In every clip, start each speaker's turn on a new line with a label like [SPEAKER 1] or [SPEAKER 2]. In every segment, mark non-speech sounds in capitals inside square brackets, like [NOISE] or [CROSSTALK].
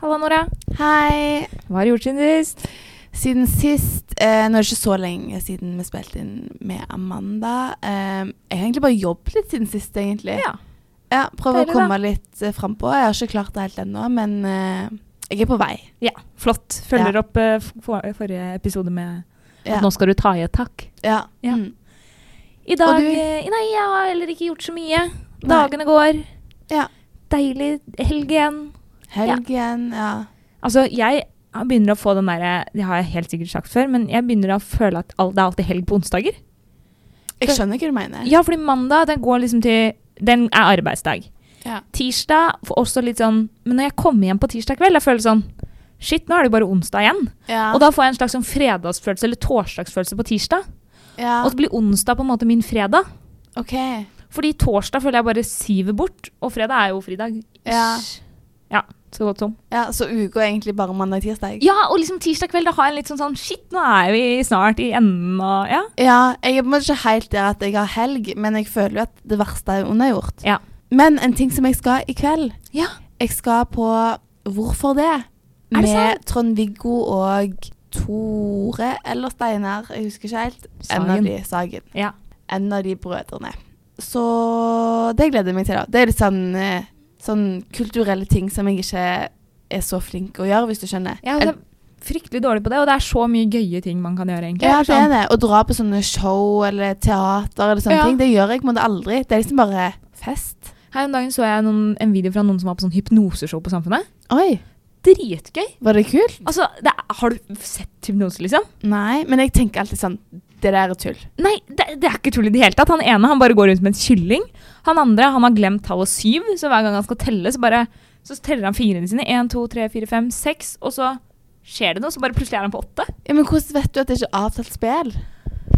[SPEAKER 1] Halla, Nora.
[SPEAKER 2] Hei.
[SPEAKER 1] Hva har du gjort siden sist?
[SPEAKER 2] Siden sist eh, Nå er det ikke så lenge siden vi spilte inn med Amanda. Eh, jeg har egentlig bare jobbet litt siden sist, egentlig.
[SPEAKER 1] Ja.
[SPEAKER 2] Ja, Prøver
[SPEAKER 1] Deilig,
[SPEAKER 2] å komme litt eh, frampå. Jeg har ikke klart det helt ennå, men eh, jeg er på vei.
[SPEAKER 3] Ja, flott. Følger
[SPEAKER 2] Ja.
[SPEAKER 3] opp eh, f- for, forrige episode med
[SPEAKER 2] Ja.
[SPEAKER 3] at nå skal du ta i et tak.
[SPEAKER 2] Ja.
[SPEAKER 3] Ja.
[SPEAKER 2] Mm.
[SPEAKER 3] I
[SPEAKER 2] Og
[SPEAKER 3] dag
[SPEAKER 2] du?
[SPEAKER 3] eh, Nei, jeg har heller ikke gjort så mye. Dagene går.
[SPEAKER 2] Ja.
[SPEAKER 3] Deilig helg igjen.
[SPEAKER 2] Helg igjen, ja.
[SPEAKER 3] Altså, jeg begynner å få den derre Det har jeg helt sikkert sagt før, men jeg begynner å føle at all, det er alltid helg på onsdager.
[SPEAKER 2] Jeg skjønner hva du mener.
[SPEAKER 3] Ja, fordi mandag den går liksom til Den er arbeidsdag.
[SPEAKER 2] Ja.
[SPEAKER 3] Tirsdag får også litt sånn Men når jeg kommer hjem på tirsdag kveld, jeg føler sånn Shit, nå er det jo bare onsdag igjen.
[SPEAKER 2] Ja.
[SPEAKER 3] Og da får jeg en slags sånn fredagsfølelse eller torsdagsfølelse på tirsdag.
[SPEAKER 2] ja.
[SPEAKER 3] Og så blir onsdag på en måte min fredag.
[SPEAKER 2] OK.
[SPEAKER 3] Fordi torsdag føler jeg bare siver bort, og fredag er jo fridag.
[SPEAKER 2] Ja.
[SPEAKER 3] ja, så godt som.
[SPEAKER 2] Ja, Så uka er egentlig bare mandag-tirsdag?
[SPEAKER 3] Ja, og liksom tirsdag kveld da har jeg en litt sånn sånn Shit, nå er vi snart i enden og Ja.
[SPEAKER 2] Ja, jeg er på en måte ikke helt der at jeg har helg, men jeg føler jo at det verste er unnagjort.
[SPEAKER 3] Ja.
[SPEAKER 2] Men en ting som jeg skal i kveld
[SPEAKER 3] Ja.
[SPEAKER 2] Jeg skal på Hvorfor det?
[SPEAKER 3] det
[SPEAKER 2] Med
[SPEAKER 3] sant?
[SPEAKER 2] Trond-Viggo og Tore eller Steinar, jeg husker ikke helt. En av
[SPEAKER 3] Sagen.
[SPEAKER 2] de, Sagen.
[SPEAKER 3] Ja.
[SPEAKER 2] En av de brødrene. Så det gleder jeg meg til, da. Det er litt sånn, eh, sånn kulturelle ting som jeg ikke er så flink å gjøre, hvis du skjønner.
[SPEAKER 3] Jeg er fryktelig dårlig på det, og det er så mye gøye ting man kan gjøre, egentlig.
[SPEAKER 2] Ja, det er
[SPEAKER 3] Sånn,
[SPEAKER 2] det. Å dra på sånne show eller teater eller sånne
[SPEAKER 3] Ja.
[SPEAKER 2] ting, det gjør jeg på en måte aldri. Det er liksom bare fest.
[SPEAKER 3] Her om dagen så jeg noen, en video fra noen som var på sånn hypnoseshow på Samfunnet.
[SPEAKER 2] Oi,
[SPEAKER 3] Dritgøy!
[SPEAKER 2] var det kult?
[SPEAKER 3] Altså, det er, har du sett hypnose, liksom?
[SPEAKER 2] Nei, men jeg tenker alltid sånn Det der er tull.
[SPEAKER 3] Nei, det, det er ikke tull i det hele tatt. Han ene han bare går rundt med en kylling. Han andre han har glemt tallet syv, så hver gang han skal telle, så bare så teller han fingrene sine. Én, to, tre, fire, fem, seks. Og så skjer det noe, så bare plutselig er han på åtte.
[SPEAKER 2] Ja, Men hvordan vet du at det ikke er avtalt spill?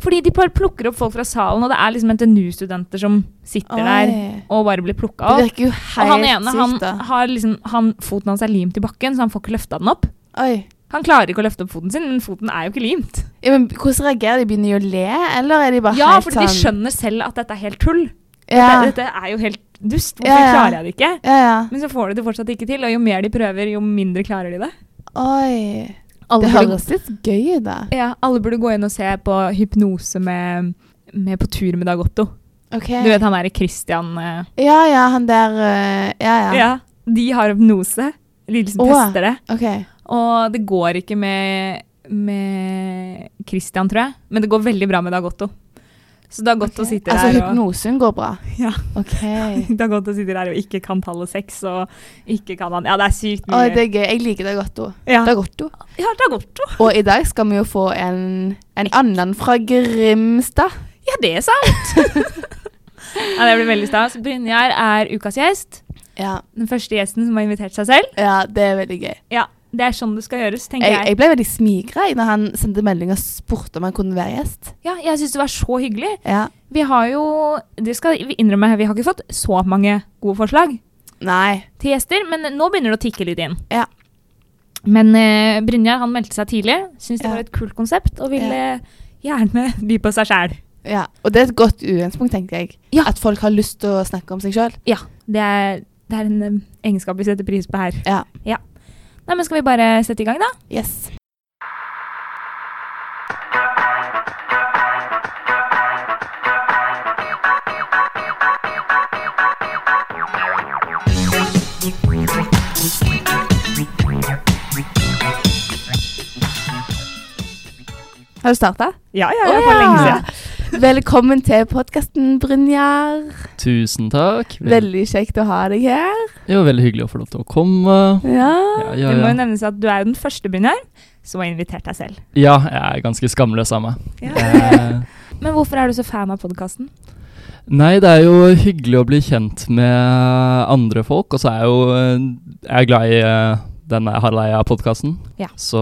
[SPEAKER 3] Fordi de bare plukker opp folk fra salen, og det er liksom NTNU-studenter som sitter der
[SPEAKER 2] Oi.
[SPEAKER 3] og bare blir plukka
[SPEAKER 2] Det
[SPEAKER 3] opp.
[SPEAKER 2] virker jo
[SPEAKER 3] Og han
[SPEAKER 2] helt
[SPEAKER 3] ene, han
[SPEAKER 2] sykt, da.
[SPEAKER 3] har liksom han, Foten hans er limt i bakken, så han får ikke løfta den opp.
[SPEAKER 2] Oi.
[SPEAKER 3] Han klarer ikke å løfte opp foten sin, men foten er jo ikke limt.
[SPEAKER 2] Ja, men hvordan reagerer de? Begynner de å le, eller er de bare
[SPEAKER 3] Ja,
[SPEAKER 2] helt
[SPEAKER 3] fordi de
[SPEAKER 2] sånn
[SPEAKER 3] skjønner selv at dette er helt tull.
[SPEAKER 2] Ja,
[SPEAKER 3] Dette, dette er jo helt dust. Hvorfor
[SPEAKER 2] Ja, ja.
[SPEAKER 3] klarer jeg det ikke?
[SPEAKER 2] ja. ja.
[SPEAKER 3] Men så får de det fortsatt ikke til, og jo mer de prøver, jo mindre klarer de det.
[SPEAKER 2] Oi.
[SPEAKER 3] Alle,
[SPEAKER 2] Det
[SPEAKER 3] burde,
[SPEAKER 2] høres litt gøy ut, da.
[SPEAKER 3] ja, alle burde gå inn og se på hypnose med, med På tur med Dag Otto.
[SPEAKER 2] OK.
[SPEAKER 3] Du vet han derre Christian eh,
[SPEAKER 2] Ja ja, han der eh, Ja
[SPEAKER 3] ja.
[SPEAKER 2] ja.
[SPEAKER 3] De har hypnose. De liksom
[SPEAKER 2] Åh.
[SPEAKER 3] tester det.
[SPEAKER 2] OK.
[SPEAKER 3] Og det går ikke med, med Christian, tror jeg, men det går veldig bra med Dag Otto. Så Dag Otto
[SPEAKER 2] Ok.
[SPEAKER 3] sitter
[SPEAKER 2] altså,
[SPEAKER 3] der og
[SPEAKER 2] hypnosen går bra?
[SPEAKER 3] [LAUGHS] Ja.
[SPEAKER 2] OK.
[SPEAKER 3] Dag Otto sitter der og ikke kan tallet seks, og ikke kan han Ja, det er sykt mye.
[SPEAKER 2] Oi, det er gøy. Jeg liker det godt. også.
[SPEAKER 3] ja.
[SPEAKER 2] Det er godt også.
[SPEAKER 3] ja, Dag Otto.
[SPEAKER 2] Og i dag skal vi jo få en, en annen fra Grimstad.
[SPEAKER 3] Ja, det er sant!
[SPEAKER 2] [LAUGHS]
[SPEAKER 3] ja, det blir veldig stas. Brynjar er ukas gjest.
[SPEAKER 2] Ja,
[SPEAKER 3] Den første gjesten som har invitert seg selv.
[SPEAKER 2] ja det er veldig gøy.
[SPEAKER 3] Ja, Det er sånn det skal gjøres, tenker
[SPEAKER 2] Jeg,
[SPEAKER 3] jeg.
[SPEAKER 2] jeg ble veldig smigra da han sendte melding og spurte om han kunne være gjest.
[SPEAKER 3] Ja, Jeg syns det var så hyggelig.
[SPEAKER 2] Ja.
[SPEAKER 3] Vi har jo det skal vi innrømme, vi har ikke fått så mange gode forslag
[SPEAKER 2] Nei.
[SPEAKER 3] til gjester, men nå begynner det å tikke litt inn.
[SPEAKER 2] Ja.
[SPEAKER 3] Men eh, Brynjar han meldte seg tidlig, syntes det
[SPEAKER 2] Ja.
[SPEAKER 3] var et kult konsept og ville gjerne by på seg sjæl.
[SPEAKER 2] Ja. Og det er et godt utgangspunkt, tenker jeg.
[SPEAKER 3] Ja.
[SPEAKER 2] At folk har lyst til å snakke om seg sjøl.
[SPEAKER 3] Ja, det er, det er en eh, egenskap vi setter pris på her.
[SPEAKER 2] Ja.
[SPEAKER 3] Nei, men Skal vi bare sette i gang, da?
[SPEAKER 2] Yes. Har du starta?
[SPEAKER 3] Ja, ja,
[SPEAKER 2] ja, for lenge siden. Velkommen til podkasten, Brynjar.
[SPEAKER 4] Tusen takk. Vel-
[SPEAKER 2] Veldig kjekt å ha deg her.
[SPEAKER 4] Det var veldig hyggelig å få lov til å komme.
[SPEAKER 2] Ja.
[SPEAKER 4] Ja, ja,
[SPEAKER 3] Det må jo
[SPEAKER 4] ja.
[SPEAKER 3] nevnes at du er jo den første, Brynjar, som har invitert deg selv.
[SPEAKER 4] ja jeg er ganske skamløs av meg. Eh,
[SPEAKER 3] Men hvorfor er du så fan av podkasten?
[SPEAKER 4] Nei, det er jo hyggelig å bli kjent med andre folk, og så er jeg jo eh, jeg er glad i eh, den Haraleia-podkasten.
[SPEAKER 3] Ja.
[SPEAKER 4] Så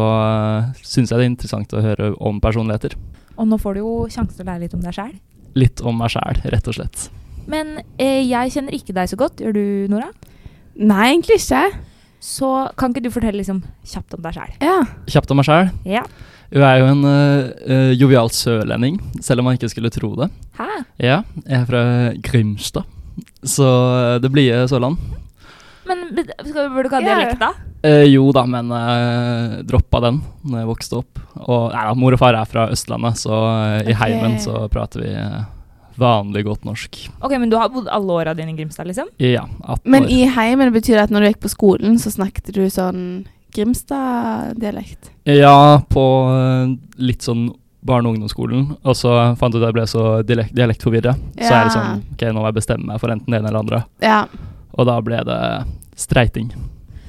[SPEAKER 4] syns jeg det er interessant å høre om personligheter.
[SPEAKER 3] Og nå får du jo sjansen til å lære litt om deg sjæl.
[SPEAKER 4] Litt om meg sjæl, rett og slett.
[SPEAKER 3] Men eh, jeg kjenner ikke deg så godt, gjør du, Nora?
[SPEAKER 2] Nei, egentlig ikke.
[SPEAKER 3] Så kan ikke du fortelle liksom kjapt om deg sjæl?
[SPEAKER 2] Ja.
[SPEAKER 4] Kjapt om meg sjæl.
[SPEAKER 3] Ja.
[SPEAKER 4] Jeg er jo en eh, eh, jovial sørlending, selv om man ikke skulle tro det.
[SPEAKER 3] Hæ?
[SPEAKER 4] Ja, jeg er fra Grimstad, så eh, det blide Sørland.
[SPEAKER 3] Men be- skal, burde du ikke ha
[SPEAKER 2] Ja.
[SPEAKER 3] dialekta?
[SPEAKER 4] Eh, jo da, men eh, droppa den når jeg vokste opp. Og nei, da, mor og far er fra Østlandet, så eh, i
[SPEAKER 2] Ok.
[SPEAKER 4] heimen så prater vi eh, vanlig godt norsk.
[SPEAKER 3] Ok, Men du har bodd alle åra dine i Grimstad, liksom?
[SPEAKER 4] Ja, 18
[SPEAKER 2] Men
[SPEAKER 4] år.
[SPEAKER 2] i heimen betyr det at når du gikk på skolen, så snakket du sånn Grimstad-dialekt?
[SPEAKER 4] Ja, på eh, litt sånn barne- og ungdomsskolen. Og så fant jeg ut at jeg ble så dialekt, dialektforvirra. Så er
[SPEAKER 2] Ja.
[SPEAKER 4] det sånn Ok, nå må jeg bestemme meg for enten det ene eller det andre.
[SPEAKER 2] Ja.
[SPEAKER 4] Og da ble det streiting.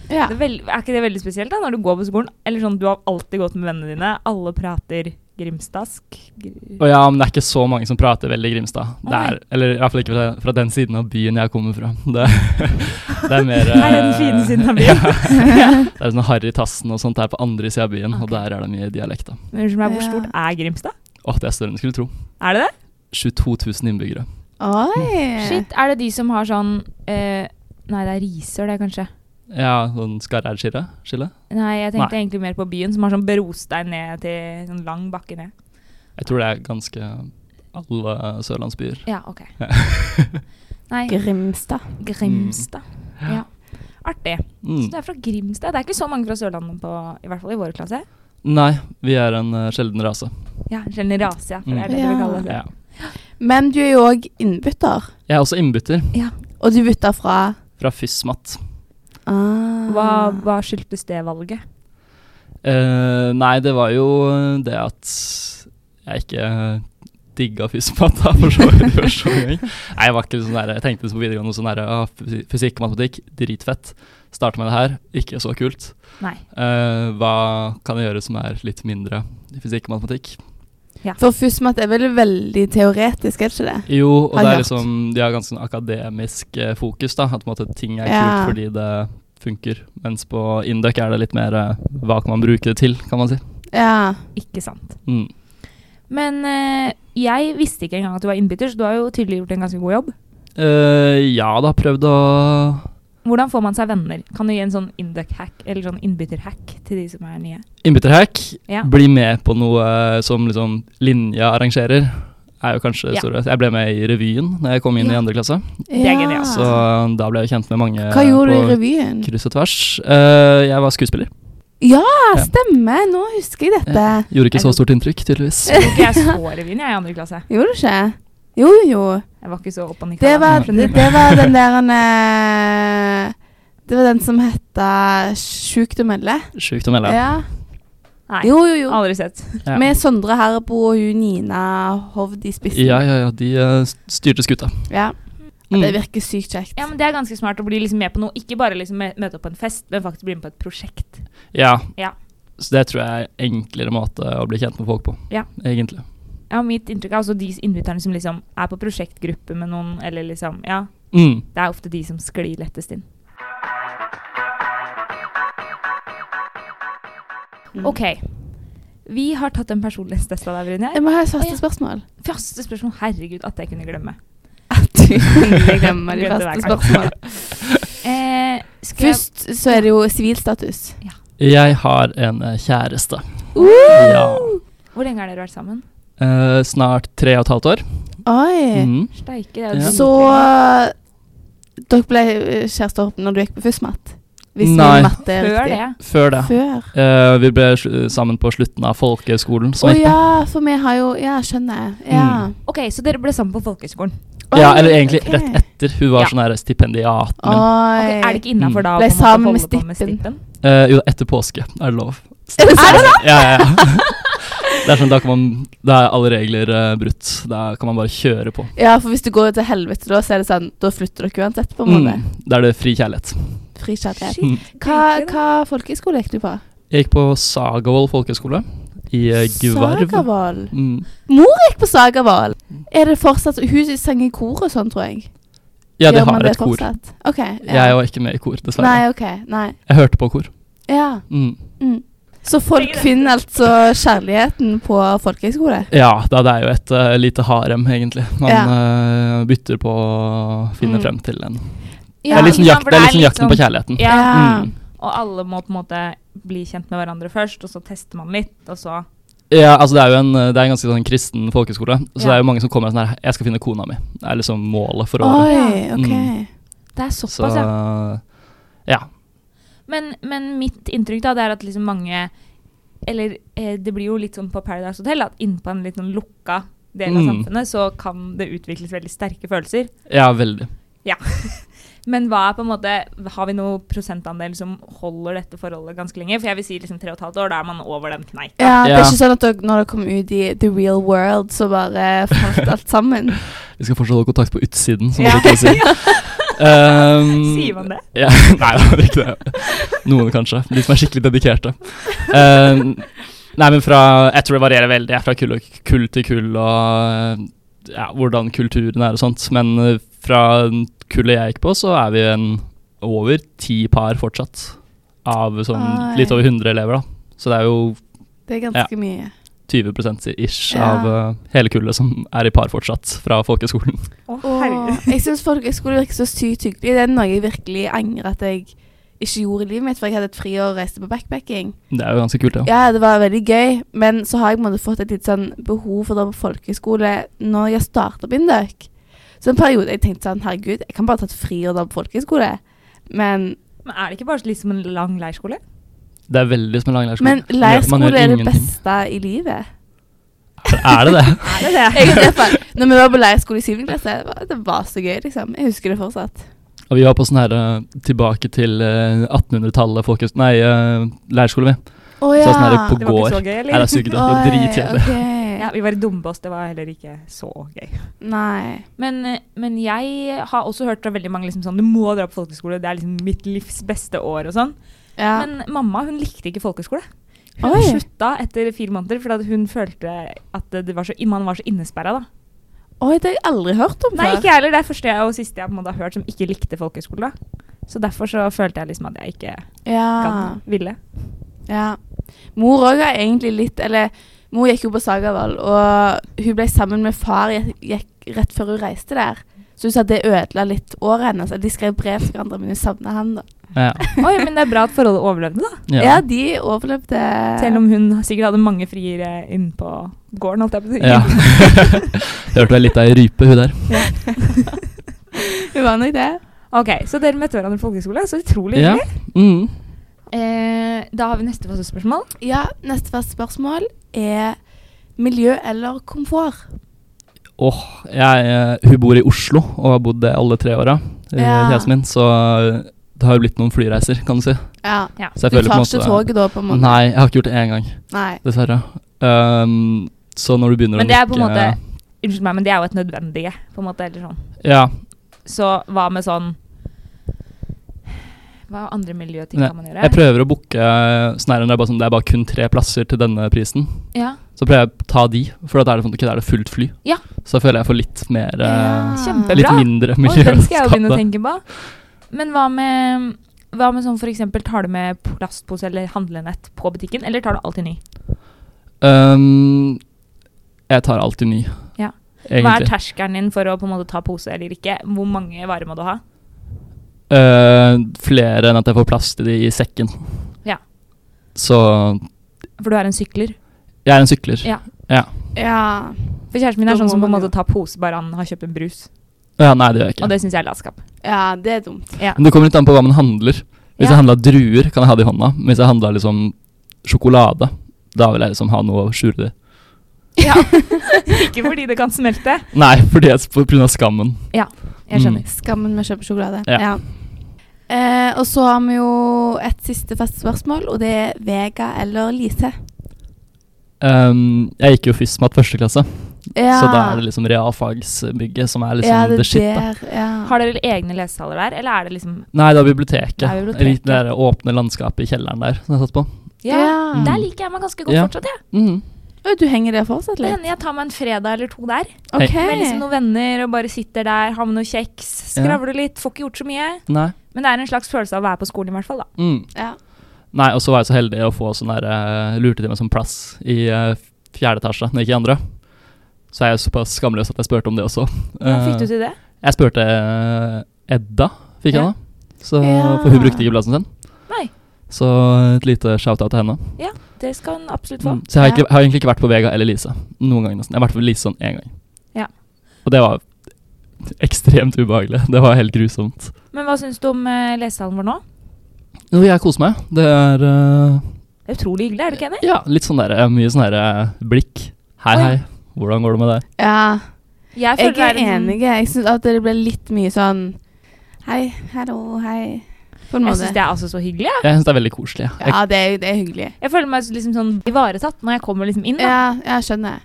[SPEAKER 2] ja.
[SPEAKER 3] Det er, vel- er ikke det veldig spesielt da, når du går på skolen? Eller sånn, Du har alltid gått med vennene dine, alle prater grimstask. Gr-
[SPEAKER 4] Og ja, men det er ikke så mange som prater veldig Grimstad. Det
[SPEAKER 3] Nei.
[SPEAKER 4] er, eller i hvert fall ikke fra, fra den siden av byen jeg kommer fra. Det, [LAUGHS] det er mer eh,
[SPEAKER 3] Her er den fine siden av byen. [LAUGHS]
[SPEAKER 4] [LAUGHS] Ja. Det er sånn Harry Tassen og sånt der på andre sida av byen,
[SPEAKER 3] Ok.
[SPEAKER 4] og der er det mye dialekt. da.
[SPEAKER 3] Men unnskyld meg, Hvor
[SPEAKER 2] Ja.
[SPEAKER 3] stort er Grimstad?
[SPEAKER 4] Åh, det er større enn du skulle tro.
[SPEAKER 3] Er det det?
[SPEAKER 4] 22 000 innbyggere.
[SPEAKER 2] Oi!
[SPEAKER 3] Shit, Er det de som har sånn eh, Nei, det er Risør, det, kanskje.
[SPEAKER 4] Ja, sånn Skarreid-skille? skille?
[SPEAKER 3] Nei, jeg tenkte egentlig mer på byen, som har sånn brostein ned til sånn lang bakke ned.
[SPEAKER 4] Jeg tror det er ganske alle sørlandsbyer.
[SPEAKER 3] Ja, ok. [LAUGHS] Nei,
[SPEAKER 2] Grimstad.
[SPEAKER 3] Grimstad. Ja. Artig. Så
[SPEAKER 4] Mm.
[SPEAKER 3] du er fra Grimstad. Det er ikke så mange fra Sørlandet, på, i hvert fall i vår klasse.
[SPEAKER 4] Nei, vi er en eh, sjelden rase.
[SPEAKER 3] Ja, Sjelden rase, ja. For det er det vi
[SPEAKER 2] Mm. Ja.
[SPEAKER 3] kaller det.
[SPEAKER 4] Ja.
[SPEAKER 2] Men du er jo òg innbytter,
[SPEAKER 4] Jeg er også innbytter
[SPEAKER 2] og du bytter fra
[SPEAKER 4] fra FysMatt.
[SPEAKER 2] ah.
[SPEAKER 3] Hva, hva skyldtes det valget?
[SPEAKER 4] Eh, nei, det var jo det at jeg ikke digga FysMatt da, for så vidt i første omgang. Nei, Jeg var ikke sånn der, jeg tenkte på videregående sånn der, «Å, fysi- fysikk og matematikk, dritfett. Starta med det her, ikke så kult.
[SPEAKER 3] Nei.
[SPEAKER 4] Eh, hva kan jeg gjøre som er litt mindre i fysikk og matematikk?
[SPEAKER 2] For FUSMAT er vel veldig teoretisk, er det ikke det?
[SPEAKER 4] Jo, og
[SPEAKER 2] Har
[SPEAKER 4] det er
[SPEAKER 2] hørt.
[SPEAKER 4] liksom, de har ganske sånn akademisk eh, fokus, da. At på en måte, ting er
[SPEAKER 2] Ja.
[SPEAKER 4] kult fordi det funker. Mens på Induc er det litt mer eh, hva kan man bruke det til, kan man si.
[SPEAKER 2] Ja.
[SPEAKER 3] Ikke sant.
[SPEAKER 4] Mm.
[SPEAKER 3] Men eh, jeg visste ikke engang at du var innbytter, så du har jo tydelig gjort en ganske god jobb.
[SPEAKER 4] Eh, ja da, prøvd å
[SPEAKER 3] Hvordan får man seg venner? Kan du gi en sånn induc-hack, eller sånn innbytter-hack til de som er
[SPEAKER 2] [LAUGHS]
[SPEAKER 3] nye?
[SPEAKER 4] Innbytterhack.
[SPEAKER 3] Ja.
[SPEAKER 4] Bli med på noe eh, som liksom linja arrangerer. Er jo kanskje det
[SPEAKER 3] Ja.
[SPEAKER 4] store. Jeg ble med i revyen da jeg kom inn
[SPEAKER 2] Ja. Ah.
[SPEAKER 4] i andre klasse.
[SPEAKER 3] Det er genialt.
[SPEAKER 4] Så da ble jeg kjent med mange
[SPEAKER 2] Hva gjorde du i
[SPEAKER 4] eh, på
[SPEAKER 2] revyen?
[SPEAKER 4] kryss og tvers. Eh, jeg var skuespiller.
[SPEAKER 2] Ja,
[SPEAKER 4] Ja.
[SPEAKER 2] stemmer! Nå husker jeg dette.
[SPEAKER 4] Gjorde ikke
[SPEAKER 3] Er
[SPEAKER 4] så
[SPEAKER 3] du-
[SPEAKER 4] stort inntrykk, tydeligvis.
[SPEAKER 3] Jeg tror ikke jeg så revyen jeg i andre klasse.
[SPEAKER 2] Gjorde du ikke? Jo, jo, jo.
[SPEAKER 3] Jeg var ikke så opp og nikka. da,
[SPEAKER 2] Det var,
[SPEAKER 3] men-
[SPEAKER 2] det, det var den der en, eh, Det var den som heta Sjukt å melde.
[SPEAKER 4] Sjukt å melde.
[SPEAKER 2] Ja.
[SPEAKER 3] Nei,
[SPEAKER 2] Jo, jo, jo.
[SPEAKER 3] aldri sett.
[SPEAKER 4] Ja.
[SPEAKER 2] Med Sondre Herbo og hun Nina Hovd i spissen.
[SPEAKER 4] Ja, ja, ja. De eh, styrte skuta.
[SPEAKER 2] Ja.
[SPEAKER 4] Mm.
[SPEAKER 2] Det virker sykt kjekt.
[SPEAKER 3] Ja, men Det er ganske smart å bli liksom med på noe. Ikke bare liksom mø- møte opp på en fest, men faktisk bli med på et prosjekt.
[SPEAKER 4] Ja.
[SPEAKER 3] Ja.
[SPEAKER 4] Så det tror jeg er enklere måte å bli kjent med folk på,
[SPEAKER 3] Ja.
[SPEAKER 4] egentlig.
[SPEAKER 3] Ja, Mitt inntrykk er også de innbytterne som liksom er på prosjektgruppe med noen, eller liksom Ja,
[SPEAKER 4] Mm.
[SPEAKER 3] det er ofte de som sklir lettest inn.
[SPEAKER 2] Mm.
[SPEAKER 3] OK. Vi har tatt en personlighetstest av deg, Brynjar.
[SPEAKER 2] Jeg må ha
[SPEAKER 3] Å,
[SPEAKER 2] et
[SPEAKER 3] ja.
[SPEAKER 2] første spørsmål.
[SPEAKER 3] Første spørsmål. Herregud, at jeg kunne glemme. [LAUGHS]
[SPEAKER 2] At du kunne glemme de
[SPEAKER 3] Glemte
[SPEAKER 2] første
[SPEAKER 3] hver gang.
[SPEAKER 2] spørsmålene.
[SPEAKER 3] [LAUGHS] Eh, skal jeg-
[SPEAKER 2] Først så er det jo sivilstatus.
[SPEAKER 4] Jeg har en eh, kjæreste. Ja.
[SPEAKER 3] Hvor lenge har dere vært sammen?
[SPEAKER 4] Eh, snart tre og et halvt år.
[SPEAKER 2] Oi.
[SPEAKER 4] Mm.
[SPEAKER 3] Steike, det er jo
[SPEAKER 4] Ja.
[SPEAKER 2] Så
[SPEAKER 3] dritgøy.
[SPEAKER 2] dere ble eh, kjærester når du gikk på FUSMAT?
[SPEAKER 4] Nei.
[SPEAKER 2] min matte er
[SPEAKER 3] Før
[SPEAKER 2] riktig.
[SPEAKER 3] det.
[SPEAKER 4] Før det.
[SPEAKER 2] Før.
[SPEAKER 4] Eh, vi ble sl- sammen på slutten av folkehøgskolen.
[SPEAKER 2] Å
[SPEAKER 4] Som jeg gikk på.
[SPEAKER 2] ja, for vi har jo Ja, skjønner jeg. Ja.
[SPEAKER 4] Mm.
[SPEAKER 3] Ok, så dere ble sammen på folkehøyskolen.
[SPEAKER 2] Oi,
[SPEAKER 4] ja, eller egentlig
[SPEAKER 2] ok.
[SPEAKER 4] rett etter. Hun var
[SPEAKER 3] Ja.
[SPEAKER 4] sånn her stipendiat.
[SPEAKER 2] Oi.
[SPEAKER 4] Men,
[SPEAKER 3] Ok, er det ikke innafor
[SPEAKER 4] Mm.
[SPEAKER 3] da å
[SPEAKER 2] Ble
[SPEAKER 3] på en måte
[SPEAKER 2] sammen med
[SPEAKER 3] holde på med
[SPEAKER 2] stippen.
[SPEAKER 3] stippen?
[SPEAKER 4] eh, jo, etter påske er det lov.
[SPEAKER 2] Er det sant?
[SPEAKER 4] Ja, ja, [LAUGHS] ja. Det er sånn, da, kan man, da er alle regler eh, brutt. Da kan man bare kjøre på.
[SPEAKER 2] Ja, for hvis du går til helvete da, så er det sånn Da flytter dere uansett, på en måte.
[SPEAKER 4] Mm. Da er det fri kjærlighet. Mm.
[SPEAKER 2] Fri kjærlighet.
[SPEAKER 3] Shit,
[SPEAKER 2] Hva,
[SPEAKER 3] dritgøy da.
[SPEAKER 2] hva folkehøyskole gikk du på?
[SPEAKER 4] Jeg gikk på Sagavoll folkehøgskole i eh, Gvarv.
[SPEAKER 2] Sagavoll.
[SPEAKER 4] Mm.
[SPEAKER 2] Mor gikk på Sagavoll. Er det fortsatt Hun sang i kor og sånn, tror jeg.
[SPEAKER 4] Ja, de
[SPEAKER 2] Gjør man
[SPEAKER 4] har
[SPEAKER 2] det
[SPEAKER 4] et kor.
[SPEAKER 2] fortsatt? OK.
[SPEAKER 4] Jeg var ikke med i kor, dessverre.
[SPEAKER 2] Nei, OK. Nei.
[SPEAKER 4] Jeg hørte på kor.
[SPEAKER 2] Ja.
[SPEAKER 4] Mm.
[SPEAKER 2] Mm. Så folk finner altså kjærligheten på folkehøyskole?
[SPEAKER 4] Ja, da det er jo et eh, lite harem, egentlig. Man eh, bytter på å finne
[SPEAKER 2] Mm.
[SPEAKER 4] frem til en.
[SPEAKER 3] Ja,
[SPEAKER 4] det er litt sånn
[SPEAKER 3] ikke
[SPEAKER 4] jak
[SPEAKER 3] sant, for
[SPEAKER 4] det er litt sånn
[SPEAKER 3] litt
[SPEAKER 4] jakten
[SPEAKER 3] sånn-
[SPEAKER 4] på kjærligheten.
[SPEAKER 3] Ja,
[SPEAKER 2] Ja.
[SPEAKER 4] Mm.
[SPEAKER 3] og alle må på en måte bli kjent med hverandre først, og så tester man litt, og så
[SPEAKER 4] Ja, altså Det er jo en, eh, det er en ganske sånn kristen folkeskole, så
[SPEAKER 3] Ja.
[SPEAKER 4] det er jo mange som kommer sånn her 'Jeg skal finne kona mi'. Det er liksom målet for året.
[SPEAKER 2] Oi, OK.
[SPEAKER 4] Mm.
[SPEAKER 3] Det er
[SPEAKER 4] Så
[SPEAKER 3] såpass, ja.
[SPEAKER 4] ja.
[SPEAKER 3] Men, men mitt inntrykk da, det er at liksom mange Eller eh, det blir jo litt sånn på Paradise Hotel at innpå en litt sånn lukka del av
[SPEAKER 4] Mm.
[SPEAKER 3] samfunnet, så kan det utvikles veldig sterke følelser.
[SPEAKER 4] Ja, veldig.
[SPEAKER 3] Men hva er på en måte Har vi noen prosentandel som holder dette forholdet ganske lenge? For jeg vil si liksom tre og et halvt år, da er man over den kneika.
[SPEAKER 2] Ja, Det er
[SPEAKER 4] Ja.
[SPEAKER 2] ikke sånn at dere, når dere kom ut i the real world, så bare falt alt [LAUGHS] sammen.
[SPEAKER 4] Vi skal fortsatt holde kontakt på utsiden, som
[SPEAKER 3] Ja.
[SPEAKER 4] man liker
[SPEAKER 3] [LAUGHS]
[SPEAKER 4] å si. Um,
[SPEAKER 3] Sier man det?
[SPEAKER 4] Ja, [LAUGHS] nei, det er ikke det. Noen kanskje. De som er skikkelig dedikerte. Um, nei, men fra, jeg tror det varierer veldig. Jeg er fra kull, og, kull til kull og eh, ja, hvordan kulturen er og sånt. Men eh, fra kullet jeg gikk på, så er vi en over ti par fortsatt. Av sånn
[SPEAKER 2] Oi.
[SPEAKER 4] litt over 100 elever, da. Så det er jo
[SPEAKER 2] Det er ganske mye.
[SPEAKER 4] 20 ish
[SPEAKER 2] Ja.
[SPEAKER 4] av eh, hele kullet som er i par fortsatt fra folkehøgskolen.
[SPEAKER 3] Å, herregud.
[SPEAKER 2] Og jeg syns folkehøyskole virker så sykt hyggelig. Det er noe jeg virkelig angrer at jeg ikke gjorde i livet mitt, for jeg hadde et friår og reiste på backpacking.
[SPEAKER 4] Det er jo ganske kult, det.
[SPEAKER 2] Ja, det var veldig gøy, men så har jeg på en måte fått et litt sånn behov for det på folkehøyskole når jeg starta på Indøk. Så en periode jeg tenkte sånn, herregud, jeg kan bare ta et friår da på folkehøyskole. Men,
[SPEAKER 3] Men er det ikke bare litt som en lang leirskole?
[SPEAKER 4] Det er veldig som en lang leirskole.
[SPEAKER 2] men
[SPEAKER 4] Man gjør
[SPEAKER 2] leirskole er det
[SPEAKER 4] ingenting.
[SPEAKER 2] beste i livet.
[SPEAKER 4] Er
[SPEAKER 2] [LAUGHS]
[SPEAKER 4] det det?
[SPEAKER 3] Er det det?
[SPEAKER 2] Jeg, i hvert fall, når vi var på leirskole i 7. klasse, det var, det var så gøy, liksom. Jeg husker det fortsatt.
[SPEAKER 4] Og vi var på sånn her eh, tilbake til eh, 1800-tallet, folkehøyskole Nei, eh, leirskole, vi.
[SPEAKER 2] Å
[SPEAKER 4] Så sånn her på
[SPEAKER 3] Det var ikke
[SPEAKER 4] gård.
[SPEAKER 3] så gøy,
[SPEAKER 4] Nei, altså- det
[SPEAKER 3] eller?
[SPEAKER 4] er sykt, det var dritkjedelig.
[SPEAKER 3] Ja, vi var i Dombås, det var heller ikke så gøy.
[SPEAKER 2] Nei.
[SPEAKER 3] Men, eh, men jeg har også hørt fra veldig mange liksom sånn Du må dra på folkeskole, det er liksom mitt livs beste år og sånn.
[SPEAKER 2] Ja.
[SPEAKER 3] Men mamma hun likte ikke folkeskole. Hun
[SPEAKER 2] Oi.
[SPEAKER 3] slutta etter fire måneder fordi at hun følte at det var så, man var så innesperra. da.
[SPEAKER 2] Oi, det har jeg aldri hørt om
[SPEAKER 3] Nei,
[SPEAKER 2] før.
[SPEAKER 3] ikke jeg heller. Det er første jeg og siste jeg på en måte har hørt som ikke likte folkeskole. da. Så derfor så følte jeg liksom at jeg ikke
[SPEAKER 2] Ja,
[SPEAKER 3] kan ville.
[SPEAKER 2] ja. Mor òg har egentlig litt Eller mor gikk jo på Sagavoll, og hun ble sammen med far gikk, gikk rett før hun reiste der. Så hun sa at det ødela litt året hennes. eller De skrev brev til hverandre, men hun savna han, da.
[SPEAKER 4] Ja.
[SPEAKER 3] Oi, men det er bra at forholdet overlevde, da.
[SPEAKER 2] Ja,
[SPEAKER 4] Ja.
[SPEAKER 2] de overlevde.
[SPEAKER 3] Selv om hun sikkert hadde mange friere inne på gården, holdt jeg på å si.
[SPEAKER 4] ja. [LAUGHS] Hørte vel litt av ei rype, hun der.
[SPEAKER 2] Hun var nok det.
[SPEAKER 3] Ok, så dere møtte hverandre på folkeskole. Så utrolig
[SPEAKER 4] Ja.
[SPEAKER 3] hyggelig.
[SPEAKER 4] Mm.
[SPEAKER 3] Eh, da har vi neste faste spørsmål.
[SPEAKER 2] Ja, neste fast spørsmål er miljø eller komfort?
[SPEAKER 4] Jeg, eh, hun bor i Oslo og har bodd det alle tre åra, eh,
[SPEAKER 2] Ja.
[SPEAKER 4] kjæresten min, så eh, det har jo blitt noen flyreiser, kan du si.
[SPEAKER 2] Ja.
[SPEAKER 3] Ja.
[SPEAKER 2] Du
[SPEAKER 4] Så
[SPEAKER 2] tar ikke toget da, på en måte?
[SPEAKER 4] Nei, jeg har ikke gjort det én gang,
[SPEAKER 2] Nei.
[SPEAKER 4] dessverre. Um, så når du begynner
[SPEAKER 3] Men
[SPEAKER 4] å
[SPEAKER 3] det er på en
[SPEAKER 4] nikke-
[SPEAKER 3] måte Unnskyld meg, men det er jo et nødvendige, på en måte. eller sånn.
[SPEAKER 4] Ja,
[SPEAKER 3] Så hva med sånn Hva andre miljøting
[SPEAKER 4] Nei,
[SPEAKER 3] kan man
[SPEAKER 4] Jeg
[SPEAKER 3] gjøre?
[SPEAKER 4] prøver å booke sånn her, det, er bare sånn, det er bare kun tre plasser til denne prisen.
[SPEAKER 3] Ja,
[SPEAKER 4] Så prøver jeg å ta de, for da er det, sånn, ok, da er det fullt fly.
[SPEAKER 3] Ja.
[SPEAKER 4] Så føler jeg får litt mer eh,
[SPEAKER 3] Kjempebra.
[SPEAKER 4] Litt mindre
[SPEAKER 3] og den skal jeg jo begynne å
[SPEAKER 4] miljøskade.
[SPEAKER 3] tenke på. Men hva med, hva med sånn for eksempel, tar du med plastpose eller handlenett på butikken, eller tar du alltid ny?
[SPEAKER 4] Um, jeg tar alltid ny.
[SPEAKER 3] Ja. Hva er
[SPEAKER 4] Egentlig.
[SPEAKER 3] terskelen din for å på en måte ta pose eller ikke? Hvor mange varer må du ha?
[SPEAKER 4] Eh, flere enn at jeg får plass til de i sekken.
[SPEAKER 3] Ja.
[SPEAKER 4] Så
[SPEAKER 3] For du er en sykler.
[SPEAKER 4] jeg er en sykler.
[SPEAKER 3] Ja.
[SPEAKER 2] Ja.
[SPEAKER 3] For kjæresten min er
[SPEAKER 2] Da
[SPEAKER 3] sånn
[SPEAKER 2] må
[SPEAKER 3] som på en
[SPEAKER 2] man
[SPEAKER 3] måte
[SPEAKER 2] jo-
[SPEAKER 3] tar pose bare han har kjøpt en brus.
[SPEAKER 4] Ja, nei, det gjør jeg ikke.
[SPEAKER 3] Og det syns jeg er latskap.
[SPEAKER 2] ja, det er dumt.
[SPEAKER 4] Men det kommer litt an på hva man handler.
[SPEAKER 3] Ja.
[SPEAKER 4] Hvis jeg handla druer, kan jeg ha det i hånda. Men Hvis jeg handla liksom sjokolade, da vil jeg liksom ha noe å skjule det
[SPEAKER 3] Ja. [LAUGHS] ikke fordi det kan smelte.
[SPEAKER 4] Nei, [LAUGHS] fordi jeg, på grunn av skammen.
[SPEAKER 3] Jeg skjønner.
[SPEAKER 4] Mm.
[SPEAKER 2] Skammen med å kjøpe sjokolade.
[SPEAKER 4] Ja.
[SPEAKER 2] Eh, og så har vi jo et siste fast spørsmål, og det er Vega eller Lise.
[SPEAKER 4] Um, jeg gikk jo FISMAT første klasse,
[SPEAKER 2] Ja.
[SPEAKER 4] så da er det liksom realfagsbygget som er liksom
[SPEAKER 2] Ja, det
[SPEAKER 4] the shit. da.
[SPEAKER 2] der, ja.
[SPEAKER 3] Har dere egne lesesaler der, eller er det liksom
[SPEAKER 4] Nei, det er biblioteket.
[SPEAKER 3] Det er biblioteket.
[SPEAKER 4] Litt Det der åpne landskapet i kjelleren der som jeg satt på.
[SPEAKER 2] Ja.
[SPEAKER 4] Mm.
[SPEAKER 3] Der liker jeg meg ganske godt
[SPEAKER 4] Ja.
[SPEAKER 3] fortsatt, jeg.
[SPEAKER 4] Mhm.
[SPEAKER 2] Oi, du henger der fortsatt
[SPEAKER 3] Det
[SPEAKER 2] litt?
[SPEAKER 3] hender jeg tar meg en fredag eller to der.
[SPEAKER 2] OK.
[SPEAKER 3] Med liksom noen venner og bare sitter der, har med noe kjeks, skravler litt, får ikke gjort så mye.
[SPEAKER 4] Nei.
[SPEAKER 3] Men det er en slags følelse av å være på skolen i hvert fall, da.
[SPEAKER 4] Mm.
[SPEAKER 2] Ja.
[SPEAKER 4] Nei, og så var jeg så heldig å få sånn der eh, Lurte til meg sånn plass i eh, fjerde etasje, men ikke i andre. Så er jeg såpass skamløs at jeg spurte om det også.
[SPEAKER 3] Hvordan
[SPEAKER 4] Eh,
[SPEAKER 3] fikk du til det?
[SPEAKER 4] Jeg spurte eh, Edda, fikk jeg
[SPEAKER 3] Ja.
[SPEAKER 4] da. Så,
[SPEAKER 2] Ja.
[SPEAKER 4] For hun brukte ikke plassen sin.
[SPEAKER 3] Nei.
[SPEAKER 4] Så et lite shout-out til henne.
[SPEAKER 3] Det skal hun absolutt få.
[SPEAKER 4] Mm. Så jeg har,
[SPEAKER 2] Ja.
[SPEAKER 4] ikke, jeg har egentlig ikke vært på Vega eller Lise noen gang. nesten. Jeg har vært på Lise sånn én gang.
[SPEAKER 3] Ja.
[SPEAKER 4] Og det var ekstremt ubehagelig. Det var helt grusomt.
[SPEAKER 3] Men hva syns du om eh, lesesalen vår nå?
[SPEAKER 4] Jo, jeg koser meg. Det er eh,
[SPEAKER 3] Det er utrolig hyggelig, er du ikke enig?
[SPEAKER 4] ja, litt sånn der, eh, mye sånn der eh, blikk. Hei,
[SPEAKER 3] Å, ja.
[SPEAKER 4] hei. Hvordan går det med deg?
[SPEAKER 2] Ja,
[SPEAKER 3] Jeg,
[SPEAKER 2] jeg
[SPEAKER 3] føler
[SPEAKER 2] er
[SPEAKER 3] det en-
[SPEAKER 2] enig. Jeg syns at det ble litt mye sånn Hei, hallo, hei. På en
[SPEAKER 3] Jeg
[SPEAKER 2] måte.
[SPEAKER 3] syns det er altså så hyggelig. jeg.
[SPEAKER 4] Jeg syns det er veldig koselig. Jeg,
[SPEAKER 2] Ja, det er, det er hyggelig.
[SPEAKER 3] Jeg føler meg liksom sånn ivaretatt når jeg kommer liksom inn. Da.
[SPEAKER 2] Ja, jeg skjønner.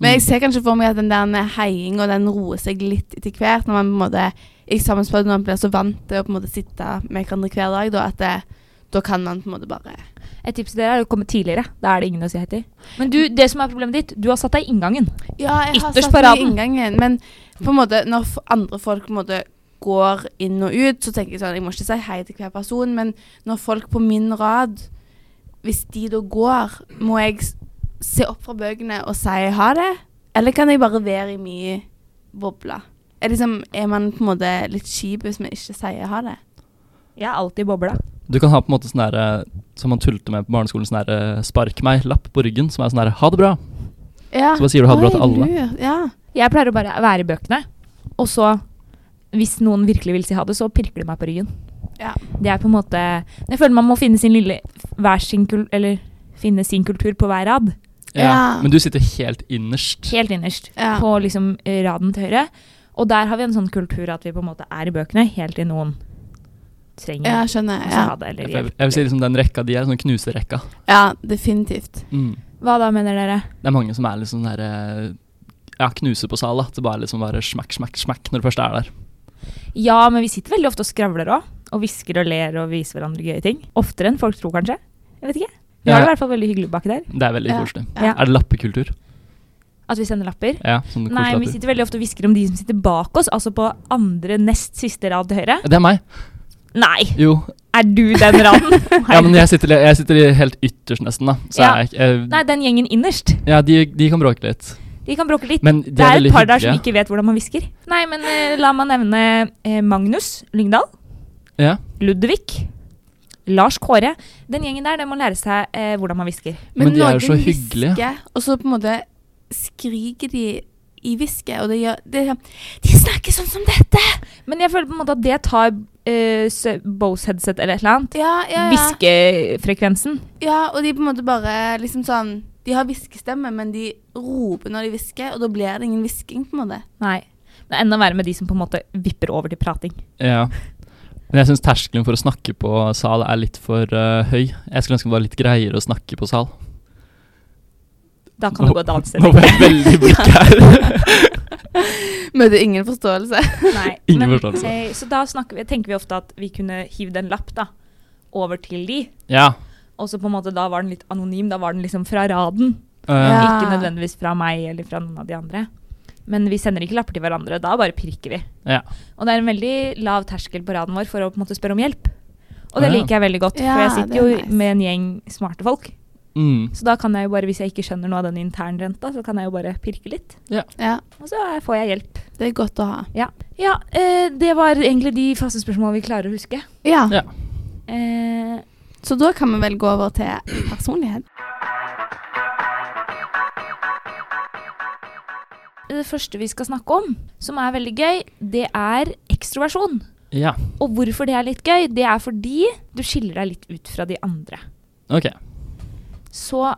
[SPEAKER 2] Men
[SPEAKER 4] Mm.
[SPEAKER 2] jeg ser kanskje for meg at den der heiinga den roer seg litt etter hvert. Når man på en måte eksamensperioden når man blir så vant til å på en måte sitte med hverandre hver dag, da, at det, da kan man på en måte bare
[SPEAKER 3] Et tips til dere er å komme tidligere. Da er det ingen å si hei til. Men du, det som er problemet ditt, du har satt deg i inngangen.
[SPEAKER 2] Ja, jeg har
[SPEAKER 3] Ytterst
[SPEAKER 2] satt meg i
[SPEAKER 3] paraden.
[SPEAKER 2] inngangen, men på en måte når f- andre folk på en måte går inn og ut, så tenker jeg sånn Jeg må ikke si hei til hver person, men når folk på min rad Hvis de da går, må jeg s- se opp fra bøkene og si ha det? Eller kan jeg bare være i min boble? Er, liksom, er man på en måte litt kjip hvis vi ikke sier ha det?
[SPEAKER 3] Jeg er alltid i bobla.
[SPEAKER 4] Du kan ha på en måte sånn der, eh, som man tulte med på barneskolen, sånn der eh, spark meg-lapp på ryggen, som er sånn der ha det bra.
[SPEAKER 2] Ja.
[SPEAKER 4] Så bare sier du ha det bra til
[SPEAKER 2] Oi,
[SPEAKER 4] alle.
[SPEAKER 2] lur. Ja.
[SPEAKER 3] Jeg pleier å bare være i bøkene, og så, hvis noen virkelig vil si ha det, så pirker de meg på ryggen.
[SPEAKER 2] Ja.
[SPEAKER 3] Det er på en måte Jeg føler man må finne sin lille hver sin kul, Eller finne sin kultur på hver rad.
[SPEAKER 4] Ja.
[SPEAKER 2] Ja.
[SPEAKER 4] Men du sitter helt innerst.
[SPEAKER 3] Helt innerst.
[SPEAKER 2] Ja.
[SPEAKER 3] På liksom eh, raden til høyre. Og der har vi en sånn kultur at vi på en måte er i bøkene helt til noen trenger
[SPEAKER 2] ja,
[SPEAKER 3] å
[SPEAKER 2] skjønner.
[SPEAKER 3] si
[SPEAKER 2] Ja.
[SPEAKER 3] Altså, ha det. Eller
[SPEAKER 4] Jeg, jeg,
[SPEAKER 3] hjelp.
[SPEAKER 4] vil si liksom den rekka de er, sånn knuserekka.
[SPEAKER 2] ja, definitivt.
[SPEAKER 4] Mm.
[SPEAKER 3] Hva da, mener dere?
[SPEAKER 4] Det er mange som er liksom der eh, Ja, knuse på sal, da. Det bare liksom bare smakk, smakk, smakk når du først er der.
[SPEAKER 3] Ja, men vi sitter veldig ofte og skravler òg. Og hvisker og ler og viser hverandre gøye ting. Oftere enn folk tror, kanskje. Jeg vet ikke. Vi har
[SPEAKER 4] Ja.
[SPEAKER 3] det i hvert fall veldig hyggelig baki der.
[SPEAKER 4] Det er veldig
[SPEAKER 2] Ja.
[SPEAKER 4] koselig.
[SPEAKER 2] Ja.
[SPEAKER 4] Er det lappekultur?
[SPEAKER 3] At vi sender lapper.
[SPEAKER 4] Ja, sånn
[SPEAKER 3] Nei,
[SPEAKER 4] koselapper.
[SPEAKER 3] vi sitter veldig ofte og hvisker om de som sitter bak oss, altså på andre nest siste rad til høyre.
[SPEAKER 4] Det er meg.
[SPEAKER 3] Nei!
[SPEAKER 4] Jo.
[SPEAKER 3] Er du den
[SPEAKER 4] [LAUGHS]
[SPEAKER 3] raden?
[SPEAKER 4] Ja, men jeg sitter, jeg sitter i helt ytterst, nesten, da. Så
[SPEAKER 3] Ja.
[SPEAKER 4] jeg, jeg,
[SPEAKER 3] Nei, den gjengen innerst.
[SPEAKER 4] ja, de, de kan bråke litt.
[SPEAKER 3] De kan bråke litt.
[SPEAKER 4] Men de
[SPEAKER 3] det
[SPEAKER 4] er
[SPEAKER 3] er
[SPEAKER 4] veldig
[SPEAKER 3] et par der
[SPEAKER 4] hyggelige.
[SPEAKER 3] som ikke vet hvordan man hvisker. Nei, men eh, la meg nevne eh, Magnus Lyngdal,
[SPEAKER 4] Ja.
[SPEAKER 3] Ludvig, Lars Kåre. Den gjengen der, den må lære seg eh, hvordan man hvisker.
[SPEAKER 4] Men de er jo
[SPEAKER 2] noen
[SPEAKER 4] så hyggelige.
[SPEAKER 2] hvisker, og så på en måte skriker de i hvisket, og det gjør det, er sånn, De snakker sånn som dette!
[SPEAKER 3] Men jeg føler på en måte at det tar eh, sø- Bose headset eller et eller annet.
[SPEAKER 2] Ja, ja, ja.
[SPEAKER 3] Hviskefrekvensen.
[SPEAKER 2] ja, og de på en måte bare liksom sånn De har hviskestemme, men de roper når de hvisker, og da blir det ingen hvisking, på en måte.
[SPEAKER 3] Nei. Det er enda verre med de som på en måte vipper over til prating.
[SPEAKER 4] ja. Men jeg syns terskelen for å snakke på sal er litt for eh, høy. Jeg skulle ønske det var litt greiere å snakke på sal.
[SPEAKER 3] Da kan
[SPEAKER 4] Nå-
[SPEAKER 3] du gå et annet sted.
[SPEAKER 4] Nå ble jeg
[SPEAKER 3] [LAUGHS]
[SPEAKER 4] veldig blikk
[SPEAKER 2] [LAUGHS]
[SPEAKER 4] her. [LAUGHS]
[SPEAKER 2] Møter ingen forståelse.
[SPEAKER 3] [LAUGHS] Nei,
[SPEAKER 4] Ingen sånn. forståelse.
[SPEAKER 3] eh, så da snakker vi, tenker vi ofte at vi kunne hive en lapp da, over til de.
[SPEAKER 4] ja.
[SPEAKER 3] Og så på en måte da var den litt anonym. Da var den liksom fra raden.
[SPEAKER 4] eh,
[SPEAKER 2] Ja.
[SPEAKER 3] Ikke nødvendigvis fra meg eller fra noen av de andre. Men vi sender ikke lapper til hverandre. Da bare pirker vi.
[SPEAKER 4] ja.
[SPEAKER 3] Og det er en veldig lav terskel på raden vår for å på en måte spørre om hjelp. Og det
[SPEAKER 4] Ja.
[SPEAKER 3] liker jeg veldig godt, for
[SPEAKER 2] Ja,
[SPEAKER 3] jeg
[SPEAKER 2] det
[SPEAKER 3] sitter
[SPEAKER 2] er
[SPEAKER 3] jo
[SPEAKER 2] nice.
[SPEAKER 3] med en gjeng smarte folk.
[SPEAKER 4] Mm.
[SPEAKER 3] Så da kan jeg jo bare, hvis jeg ikke skjønner noe av den internrenta, så kan jeg jo bare pirke litt.
[SPEAKER 2] Ja,
[SPEAKER 3] Og så eh, får jeg hjelp.
[SPEAKER 2] det er godt å ha.
[SPEAKER 3] Ja, ja eh, det var egentlig de faste spørsmålene vi klarer å huske.
[SPEAKER 2] Ja,
[SPEAKER 4] ja.
[SPEAKER 3] Eh,
[SPEAKER 2] Så da kan vi vel gå over til personlighet.
[SPEAKER 3] det første vi skal snakke om, som er veldig gøy, det er ekstroversjon.
[SPEAKER 4] Ja.
[SPEAKER 3] Og hvorfor det er litt gøy, det er fordi du skiller deg litt ut fra de andre.
[SPEAKER 4] Ok.
[SPEAKER 3] Så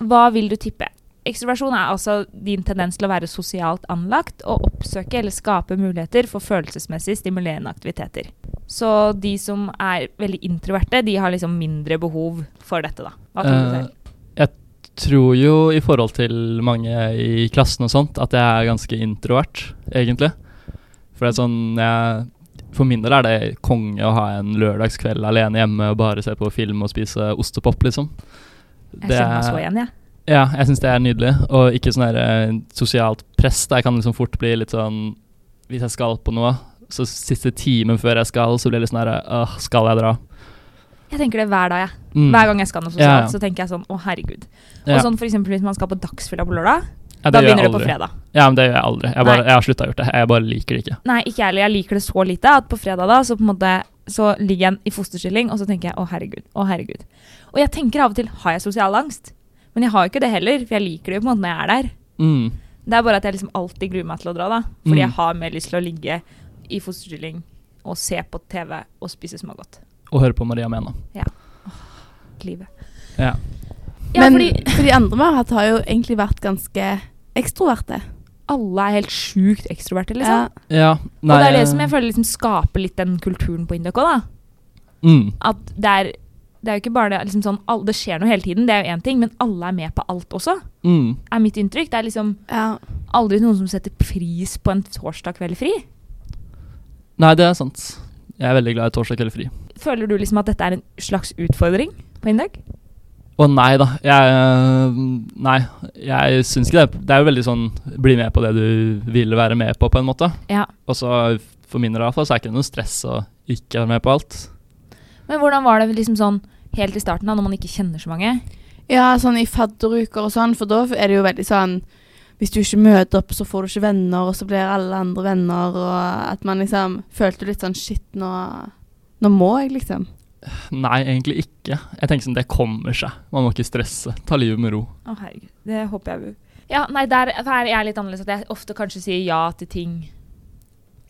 [SPEAKER 3] hva vil du tippe? Ekstroversjon er altså din tendens til å være sosialt anlagt og oppsøke eller skape muligheter for følelsesmessig stimulerende aktiviteter. Så de som er veldig introverte, de har liksom mindre behov for dette, da. Hva tror du
[SPEAKER 4] Eh,
[SPEAKER 3] selv?
[SPEAKER 4] Jeg tror jo i forhold til mange i klassen og sånt, at jeg er ganske introvert, egentlig. For det er sånn jeg, For min del er det konge å ha en lørdagskveld alene hjemme og bare se på film og spise ostepop, liksom.
[SPEAKER 3] Jeg kjenner meg så igjen, jeg.
[SPEAKER 4] Ja, jeg syns det er nydelig. Og ikke sånn der, eh, sosialt press. Da jeg kan liksom fort bli litt sånn Hvis jeg skal på noe, så siste timen før jeg skal, så blir det litt sånn her Åh, skal jeg dra?
[SPEAKER 3] Jeg tenker det hver dag, jeg.
[SPEAKER 4] Mm.
[SPEAKER 3] Hver gang jeg skal noe sosialt,
[SPEAKER 4] Ja, ja.
[SPEAKER 3] så tenker jeg sånn å, herregud.
[SPEAKER 4] Ja.
[SPEAKER 3] Og sånn for eksempel hvis man skal på Dagsfylla på lørdag,
[SPEAKER 4] Ja,
[SPEAKER 3] da
[SPEAKER 4] gjør jeg
[SPEAKER 3] begynner det på
[SPEAKER 4] aldri.
[SPEAKER 3] fredag.
[SPEAKER 4] Ja, men det gjør jeg aldri. Jeg,
[SPEAKER 3] Nei.
[SPEAKER 4] bare, jeg har slutta å gjøre det. Jeg bare liker det ikke.
[SPEAKER 3] Nei, ikke jeg heller. Jeg liker det så lite at på fredag da, så på en måte så ligger jeg i fosterstilling, og så tenker jeg å herregud, å herregud. Og jeg tenker av og til har jeg sosial angst, men jeg har jo ikke det heller, for jeg liker det jo på en måte når jeg er der.
[SPEAKER 4] Mm.
[SPEAKER 3] Det er bare at jeg liksom alltid gruer meg til å dra da, fordi
[SPEAKER 4] Mm.
[SPEAKER 3] jeg har mer lyst til å ligge i fosterstilling og se på TV og spise smågodt.
[SPEAKER 4] og høre på Maria Mena.
[SPEAKER 3] Livet.
[SPEAKER 4] Ja.
[SPEAKER 3] Ja,
[SPEAKER 2] Men
[SPEAKER 3] fordi
[SPEAKER 2] for de andre vi har hatt, har jo egentlig vært ganske ekstroverte.
[SPEAKER 3] alle er helt sjukt ekstroverte, liksom.
[SPEAKER 4] ja
[SPEAKER 3] og det er det som jeg føler liksom skaper litt den kulturen på Indok òg, da.
[SPEAKER 4] mm,
[SPEAKER 3] at det er, det er jo ikke bare det, liksom sånn, all, det skjer noe hele tiden, det er jo én ting, men alle er med på alt også,
[SPEAKER 4] mm,
[SPEAKER 3] er mitt inntrykk. Det er liksom
[SPEAKER 2] Ja.
[SPEAKER 3] aldri noen som setter pris på en torsdag kveld fri.
[SPEAKER 4] Nei, det er sant. Jeg er veldig glad i torsdag kveld fri.
[SPEAKER 3] Føler du liksom at dette er en slags utfordring på Indøk?
[SPEAKER 4] Å nei da. Jeg, øh, nei, jeg syns ikke det. Det er jo veldig sånn bli med på det du vil være med på, på en måte.
[SPEAKER 3] Ja.
[SPEAKER 4] Og så for min del iallfall, så er det ikke noe stress å ikke være med på alt.
[SPEAKER 3] Men hvordan var det liksom sånn helt i starten, da, når man ikke kjenner så mange?
[SPEAKER 2] ja, sånn i fadderuker og sånn, for da er det jo veldig sånn Hvis du ikke møter opp, så får du ikke venner, og så blir alle andre venner, og at man liksom følte litt sånn Shit, nå, nå må jeg, liksom.
[SPEAKER 4] Nei, egentlig ikke. Jeg tenker sånn, det kommer seg. Man må ikke stresse. Ta livet med ro.
[SPEAKER 3] Å, herregud. Det håper jeg Ja, nei, der, der er jeg litt annerledes. At jeg ofte kanskje sier ja til ting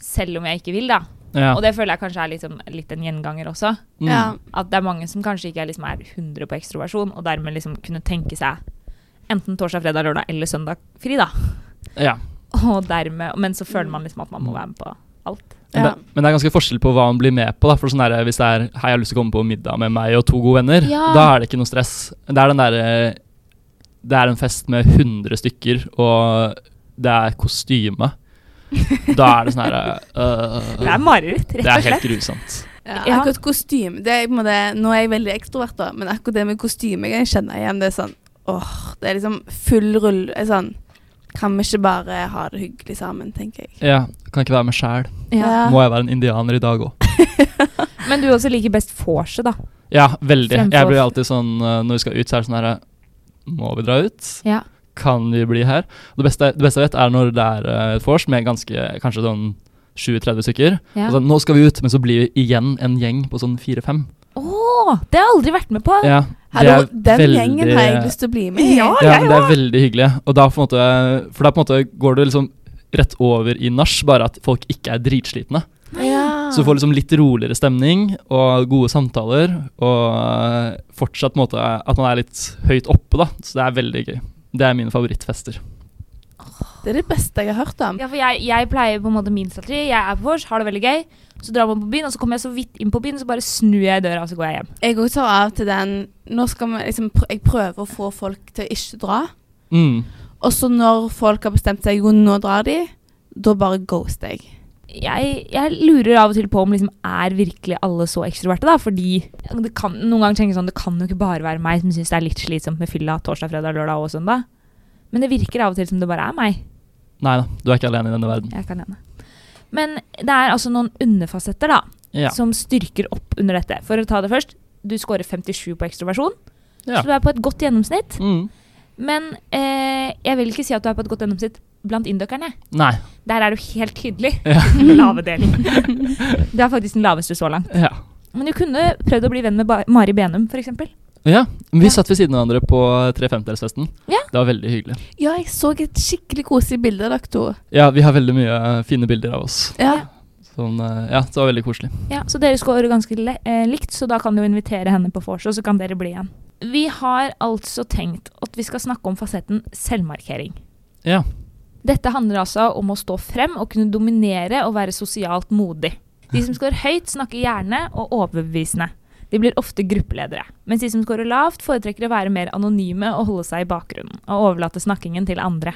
[SPEAKER 3] selv om jeg ikke vil, da.
[SPEAKER 4] Ja.
[SPEAKER 3] Og det føler jeg kanskje er litt, sånn, litt en gjenganger også.
[SPEAKER 4] Mm.
[SPEAKER 2] Ja.
[SPEAKER 3] at det er mange som kanskje ikke er, liksom, er 100 på ekstroversjon, og dermed liksom kunne tenke seg enten torsdag, fredag, lørdag eller søndag fri, da.
[SPEAKER 4] ja.
[SPEAKER 3] Og dermed, men så føler man liksom at man må være med på alt.
[SPEAKER 4] Men,
[SPEAKER 2] Ja.
[SPEAKER 4] det, men det er ganske forskjell på hva man blir med på. Da. For sånn der, Hvis det er 'hei, jeg har lyst til å komme på middag med meg og to gode venner',
[SPEAKER 3] Ja.
[SPEAKER 4] da er det ikke noe stress. Det er den derre Det er en fest med 100 stykker, og det er kostyme. Da er det sånn herre
[SPEAKER 3] [LAUGHS] Det er mareritt,
[SPEAKER 4] Det
[SPEAKER 3] rett og
[SPEAKER 4] er helt
[SPEAKER 3] slett.
[SPEAKER 4] grusomt.
[SPEAKER 2] Ja,
[SPEAKER 3] Ja.
[SPEAKER 2] akkurat kostyme det er, på en måte- Nå er jeg veldig ekstrovert, da, men akkurat det med kostyme jeg kjenner igjen. Det er sånn åh, det er liksom full rull er sånn, Kan vi ikke bare ha det hyggelig sammen, tenker jeg.
[SPEAKER 4] Ja, Kan ikke være meg sjæl.
[SPEAKER 3] Ja.
[SPEAKER 2] Ja.
[SPEAKER 4] Må jeg være en indianer i dag òg?
[SPEAKER 3] Men du også liker best vorset, da.
[SPEAKER 4] Ja, veldig. Jeg
[SPEAKER 3] Fremfor-
[SPEAKER 4] blir alltid sånn eh, når vi skal ut, så er det sånn herre Må vi dra ut?
[SPEAKER 3] Ja.
[SPEAKER 4] kan vi bli her? Og det, beste, det beste jeg vet, er når det er eh, et vors med ganske, kanskje sånn 20-30 stykker.
[SPEAKER 3] ja.
[SPEAKER 4] Og sånn, nå skal vi ut, men så blir vi igjen en gjeng på sånn 4-5.
[SPEAKER 3] Å, det har jeg aldri vært med på!
[SPEAKER 4] Ja, det
[SPEAKER 2] Hallo,
[SPEAKER 4] er
[SPEAKER 2] den gjengen har jeg lyst til å bli med i.
[SPEAKER 3] Ja.
[SPEAKER 4] ja, men det er veldig hyggelig. Og da på en måte, for da på en måte går det liksom rett over i nach, bare at folk ikke er dritslitne.
[SPEAKER 2] Ja.
[SPEAKER 4] Så du
[SPEAKER 3] Ah.
[SPEAKER 4] får liksom litt roligere stemning og gode samtaler, og eh, fortsatt på en måte at man er litt høyt oppe, da. Så det er veldig gøy. Det er mine favorittfester.
[SPEAKER 2] Det er det beste jeg har hørt om.
[SPEAKER 3] Ja, for jeg, jeg pleier på en måte min strategi. Jeg er på vors, har det veldig gøy. Så drar man på byen, og så kommer jeg så vidt inn på byen, så bare snur jeg i døra, og så går jeg hjem.
[SPEAKER 2] Jeg òg tar av til den Nå skal vi liksom pr Jeg prøver å få folk til å ikke dra.
[SPEAKER 4] Mm.
[SPEAKER 2] Og så når folk har bestemt seg jo, nå drar de, da bare ghoster jeg.
[SPEAKER 3] jeg, jeg lurer av og til på om liksom, er virkelig alle så ekstroverte, da? Fordi det kan, noen ganger tenker jeg sånn, det kan jo ikke bare være meg som syns det er litt slitsomt med fylla torsdag, fredag, lørdag og søndag. Men det virker av og til som det bare er meg.
[SPEAKER 4] Nei da, du er ikke alene i denne verden.
[SPEAKER 3] Jeg kan ene. Men det er altså noen underfasetter da,
[SPEAKER 4] Ja.
[SPEAKER 3] som styrker opp under dette. For å ta det først, du scorer 57 på ekstroversjon,
[SPEAKER 4] Ja.
[SPEAKER 3] så du er på et godt gjennomsnitt.
[SPEAKER 4] Mm.
[SPEAKER 3] Men eh, jeg vil ikke si at du er på et godt gjennomsnitt blant indokerne.
[SPEAKER 4] Nei.
[SPEAKER 3] Der er du helt tydelig
[SPEAKER 4] Ja.
[SPEAKER 3] [LAUGHS] den lave delen. Du er faktisk den laveste så langt.
[SPEAKER 4] Ja.
[SPEAKER 3] Men du kunne prøvd å bli venn med ba Mari Benum, f.eks.
[SPEAKER 4] ja. men Vi
[SPEAKER 3] Ja.
[SPEAKER 4] satt ved siden av hverandre på tre femtedelsfesten.
[SPEAKER 3] Ja.
[SPEAKER 4] Det var veldig hyggelig.
[SPEAKER 2] Ja, jeg så et skikkelig koselig bilde av dere to.
[SPEAKER 4] Ja, vi har veldig mye eh, fine bilder av oss.
[SPEAKER 2] Ja.
[SPEAKER 4] Sånn, eh, ja, det var veldig koselig.
[SPEAKER 3] Ja, så dere scorer ganske le eh, likt, så da kan du jo invitere henne på vors, og så kan dere bli igjen. Vi har altså tenkt at vi skal snakke om fasetten selvmarkering.
[SPEAKER 4] Ja.
[SPEAKER 3] Dette handler altså om å stå frem og kunne dominere og være sosialt modig. De som scorer høyt, snakker gjerne og overbevisende. De blir ofte gruppeledere. Mens de som scorer lavt, foretrekker å være mer anonyme og holde seg i bakgrunnen. Og overlate snakkingen til andre.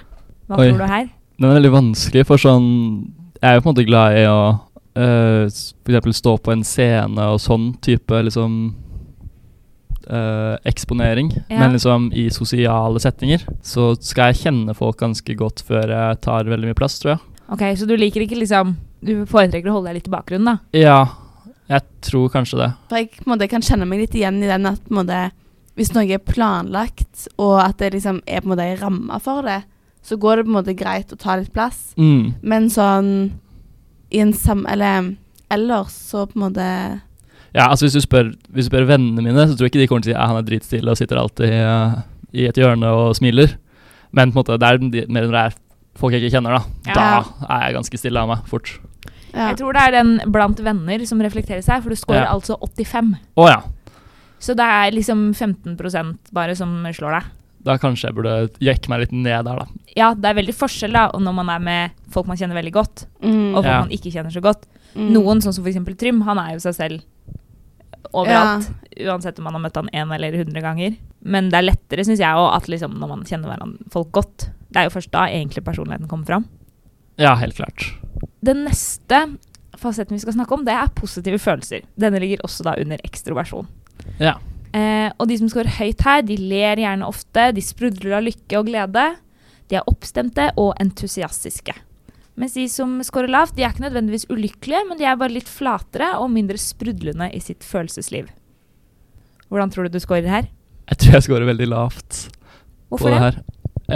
[SPEAKER 3] Hva
[SPEAKER 4] Oi.
[SPEAKER 3] tror du her?
[SPEAKER 4] Den er veldig vanskelig, for sånn Jeg er jo på en måte glad i å eh, s- for eksempel stå på en scene og sånn type liksom eh, eksponering.
[SPEAKER 3] Ja.
[SPEAKER 4] Men liksom i sosiale settinger så skal jeg kjenne folk ganske godt før jeg tar veldig mye plass, tror jeg.
[SPEAKER 3] Ok, Så du liker ikke liksom Du foretrekker å holde deg litt i bakgrunnen, da?
[SPEAKER 4] Ja, jeg tror kanskje det.
[SPEAKER 2] For jeg på en måte, kan kjenne meg litt igjen i den at på en måte, hvis noe er planlagt, og at det liksom er på en måte en ramme for det, så går det på en måte greit å ta litt plass.
[SPEAKER 4] Mm.
[SPEAKER 2] Men sånn i en sam... Eller ellers så på en måte
[SPEAKER 4] Ja, altså hvis du spør, hvis du spør vennene mine, så tror jeg ikke de kommer til å si at han er dritstille og sitter alltid eh, i et hjørne og smiler. Men på en måte, det er de- mer når det er folk jeg ikke kjenner, da.
[SPEAKER 3] Ja.
[SPEAKER 4] Da er jeg ganske stille av meg fort.
[SPEAKER 2] Ja.
[SPEAKER 3] Jeg tror det er den blant venner som reflekterer seg, for du scorer
[SPEAKER 4] Ja.
[SPEAKER 3] altså 85.
[SPEAKER 4] Å ja.
[SPEAKER 3] Så det er liksom 15 bare som slår deg.
[SPEAKER 4] Da kanskje jeg burde jekke meg litt ned der, da.
[SPEAKER 3] Ja, det er veldig forskjell da når man er med folk man kjenner veldig godt,
[SPEAKER 2] Mm,
[SPEAKER 3] og folk
[SPEAKER 4] Ja.
[SPEAKER 3] man ikke kjenner så godt.
[SPEAKER 2] mm.
[SPEAKER 3] Noen, sånn som for eksempel Trym, han er jo seg selv overalt. Uansett om man har møtt han én eller hundre ganger. Men det er lettere, syns jeg, også, at liksom, når man kjenner hverandre folk godt. Det er jo først da egentlig personligheten kommer fram.
[SPEAKER 4] Ja, helt klart.
[SPEAKER 3] Den neste fasetten vi skal snakke om, det er positive følelser. Denne ligger også da under ekstroversjon.
[SPEAKER 4] Ja.
[SPEAKER 3] Eh, og de som scorer høyt her, de ler gjerne ofte, de sprudler av lykke og glede. De er oppstemte og entusiastiske. Mens de som scorer lavt, de er ikke nødvendigvis ulykkelige, men de er bare litt flatere og mindre sprudlende i sitt følelsesliv. Hvordan tror du du scorer her?
[SPEAKER 4] Jeg tror jeg scorer veldig lavt
[SPEAKER 3] Hvorfor
[SPEAKER 4] på det
[SPEAKER 3] det?
[SPEAKER 4] her.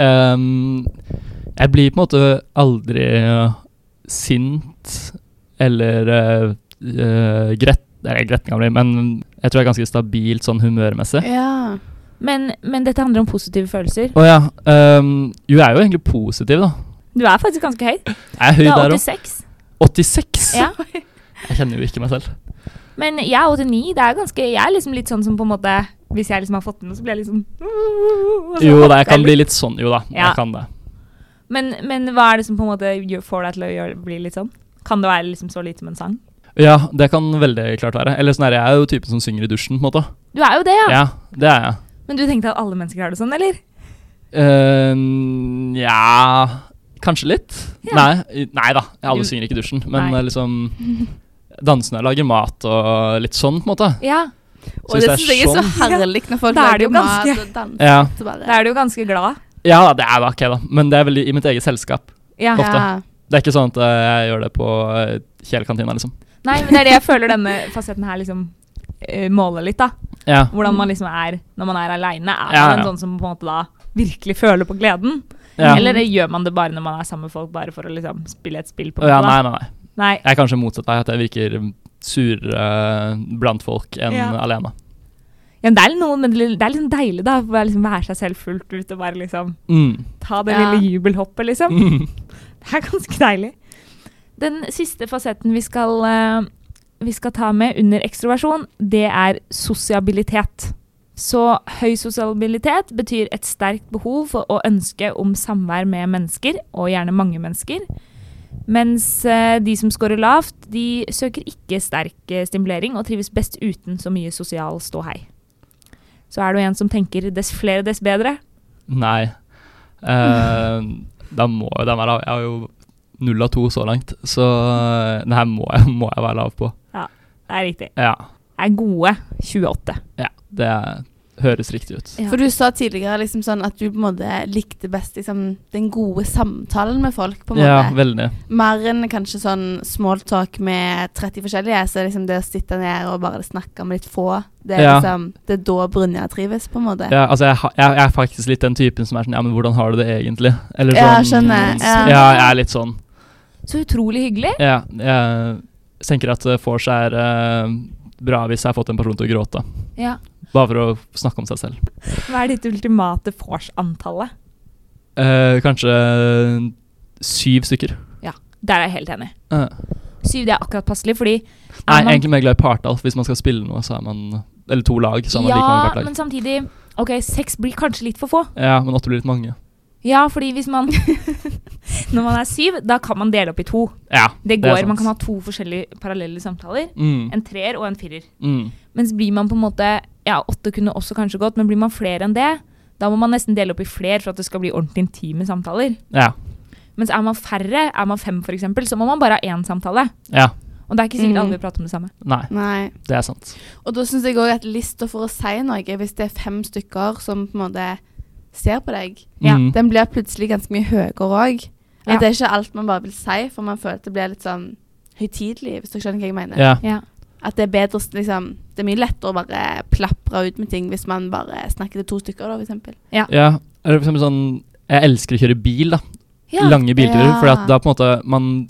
[SPEAKER 4] Ehm, jeg blir på en måte aldri eh, sint eller uh, grett... Eller gretninga mi, men jeg tror jeg er ganske stabilt sånn humørmessig.
[SPEAKER 2] Ja.
[SPEAKER 3] Men, men dette handler om positive følelser.
[SPEAKER 4] Å ja. ehm, jo, jeg er jo egentlig positiv, da.
[SPEAKER 3] Du er faktisk ganske høy.
[SPEAKER 4] Jeg er
[SPEAKER 3] Du
[SPEAKER 4] høy
[SPEAKER 3] er
[SPEAKER 4] der òg.
[SPEAKER 3] 86.
[SPEAKER 4] 86!
[SPEAKER 3] Ja.
[SPEAKER 4] Jeg kjenner jo ikke meg selv.
[SPEAKER 3] Men jeg er 89. Det er ganske, jeg er liksom litt sånn som på en måte Hvis jeg liksom har fått den, så blir jeg liksom [LAUGHS] og så
[SPEAKER 4] Jo da,
[SPEAKER 3] hopper
[SPEAKER 4] jeg kan bli
[SPEAKER 3] litt.
[SPEAKER 4] litt sånn, jo da.
[SPEAKER 3] Ja.
[SPEAKER 4] Jeg kan det.
[SPEAKER 3] Men, men hva er det som på en måte gjør- får deg til å gjøre, bli litt sånn? Kan det være liksom så lite som en sang?
[SPEAKER 4] Ja, det kan veldig klart være. Eller sånn her, jeg er jo typen som synger i dusjen, på en måte.
[SPEAKER 3] Du er jo det,
[SPEAKER 4] Ja,
[SPEAKER 3] ja.
[SPEAKER 4] det er jeg.
[SPEAKER 3] Men du tenkte at alle mennesker har det sånn, eller?
[SPEAKER 4] Eh, Nja Kanskje litt.
[SPEAKER 3] Ja.
[SPEAKER 4] Nei, i- nei da, alle
[SPEAKER 3] Du-
[SPEAKER 4] synger ikke i dusjen. Men
[SPEAKER 3] Nei.
[SPEAKER 4] eh,
[SPEAKER 3] [LAUGHS]
[SPEAKER 4] liksom Dansende lager mat og litt sånn, på en måte.
[SPEAKER 3] Ja.
[SPEAKER 2] Og det syns jeg er så
[SPEAKER 3] sånn-
[SPEAKER 2] herlig når folk
[SPEAKER 3] Da er det
[SPEAKER 2] lager
[SPEAKER 3] jo
[SPEAKER 2] mat
[SPEAKER 3] ganske-
[SPEAKER 2] og danser.
[SPEAKER 4] Ja,
[SPEAKER 2] så bare-
[SPEAKER 3] Da er du jo ganske glad.
[SPEAKER 4] ja da, det er da ok, da. Men det er veldig i mitt eget selskap.
[SPEAKER 3] Ja.
[SPEAKER 4] ofte. Det er ikke sånn at eh, jeg gjør det på eh, Kjell-kantina, liksom.
[SPEAKER 3] Nei, men det er det jeg føler denne fasetten her liksom eh, måler litt, da.
[SPEAKER 4] Ja.
[SPEAKER 3] Hvordan man liksom er når man er aleine. Er
[SPEAKER 4] Ja,
[SPEAKER 3] man en
[SPEAKER 4] ja.
[SPEAKER 3] sånn som på en måte da virkelig føler på gleden?
[SPEAKER 4] ja.
[SPEAKER 3] Eller gjør man det bare når man er sammen med folk, bare for å liksom spille et spill? på
[SPEAKER 4] Å, ja,
[SPEAKER 3] det,
[SPEAKER 4] nei,
[SPEAKER 3] da?
[SPEAKER 4] nei, nei.
[SPEAKER 3] nei.
[SPEAKER 4] Jeg er kanskje motsatt av at jeg virker surere blant folk enn
[SPEAKER 3] Ja.
[SPEAKER 4] alene.
[SPEAKER 3] Ja, men det er noe, men det er liksom deilig da, å bare liksom være seg selv fullt ut og bare liksom
[SPEAKER 4] Mm. [LAUGHS]
[SPEAKER 3] ta det
[SPEAKER 2] Ja.
[SPEAKER 3] lille jubelhoppet, liksom.
[SPEAKER 4] Mm.
[SPEAKER 3] Det er ganske deilig. Den siste fasetten vi skal, eh, vi skal ta med under ekstroversjon, det er sosiabilitet. Så høy sosialibilitet betyr et sterkt behov for å ønske om samvær med mennesker, og gjerne mange mennesker. Mens eh, de som scorer lavt, de søker ikke sterk eh, stimulering og trives best uten så mye sosial ståhei. Så er du en som tenker dess flere, dess bedre.
[SPEAKER 4] Nei. Eh, da må jo den være lav. Jeg har jo null av to så langt, så den her må jeg, må jeg være lav på.
[SPEAKER 3] Det er riktig.
[SPEAKER 4] Ja.
[SPEAKER 3] Er gode 28.
[SPEAKER 4] ja det høres riktig ut.
[SPEAKER 3] Ja.
[SPEAKER 2] For du sa tidligere liksom sånn at du på en måte likte best liksom, den gode samtalen med folk. på en
[SPEAKER 4] Ja,
[SPEAKER 2] måte.
[SPEAKER 4] veldig.
[SPEAKER 2] Mer enn kanskje sånn small talk med 30 forskjellige. Så liksom det å sitte ned og bare snakke med litt få, det er
[SPEAKER 4] Ja.
[SPEAKER 2] liksom, det er da Brynja trives, på en måte.
[SPEAKER 4] Ja, altså jeg, ha- jeg, jeg er faktisk litt den typen som er sånn Ja, men hvordan har du det egentlig? Eller
[SPEAKER 2] Ja,
[SPEAKER 4] sånn
[SPEAKER 2] skjønner,
[SPEAKER 4] Ja.
[SPEAKER 2] ja.
[SPEAKER 4] jeg er litt sånn.
[SPEAKER 3] Så utrolig hyggelig.
[SPEAKER 4] Ja, jeg tenker at eh, vors er eh, bra hvis jeg har fått en person til å gråte.
[SPEAKER 3] Ja.
[SPEAKER 4] Bare for å snakke om seg selv.
[SPEAKER 3] Hva er ditt ultimate vors-antallet?
[SPEAKER 4] Eh, kanskje syv stykker.
[SPEAKER 3] Der er jeg helt enig.
[SPEAKER 4] Eh,
[SPEAKER 3] Syv det er akkurat passelig, fordi
[SPEAKER 4] Nei,
[SPEAKER 3] er man-
[SPEAKER 4] egentlig mer glad i partall. Hvis man skal spille noe, så er man Eller to lag, så er man like mange
[SPEAKER 3] Ja,
[SPEAKER 4] hvert lag.
[SPEAKER 3] men samtidig Ok, seks blir kanskje litt for få.
[SPEAKER 4] Ja, men åtte blir litt mange.
[SPEAKER 3] Ja, fordi hvis man [LAUGHS] Når man er syv, da kan man dele opp i to.
[SPEAKER 4] Ja,
[SPEAKER 3] Det
[SPEAKER 4] er
[SPEAKER 3] går,
[SPEAKER 4] sant.
[SPEAKER 3] Man kan ha to forskjellige parallelle samtaler.
[SPEAKER 4] mm,
[SPEAKER 3] En treer og en firer.
[SPEAKER 4] mm,
[SPEAKER 3] Mens blir man på en måte Ja, åtte kunne også kanskje gått, men blir man flere enn det, da må man nesten dele opp i flere for at det skal bli ordentlig intime samtaler.
[SPEAKER 4] Ja.
[SPEAKER 3] Mens er man færre, er man fem f.eks., så må man bare ha én samtale.
[SPEAKER 4] ja.
[SPEAKER 3] Og det er ikke sikkert
[SPEAKER 2] Mm.
[SPEAKER 3] alle vil prate om det samme.
[SPEAKER 4] Nei,
[SPEAKER 2] Nei.
[SPEAKER 4] det er sant.
[SPEAKER 2] Og da syns jeg òg at lista for å si noe, hvis det er fem stykker som på en måte ser på deg,
[SPEAKER 3] Ja,
[SPEAKER 4] Mm.
[SPEAKER 2] den blir plutselig ganske mye høyere òg.
[SPEAKER 3] Ja.
[SPEAKER 2] Det er ikke alt man bare vil si, for man føler at det blir litt sånn høytidelig, hvis dere skjønner hva jeg mener.
[SPEAKER 4] Ja.
[SPEAKER 3] Ja.
[SPEAKER 2] At det er bedre s- liksom Det er mye lettere å bare plapre ut med ting hvis man bare snakker til to stykker, da, for eksempel.
[SPEAKER 4] ja. Eller for eksempel sånn Jeg elsker å kjøre bil, da. Lange bilturer.
[SPEAKER 2] Ja.
[SPEAKER 4] For at da på en måte Man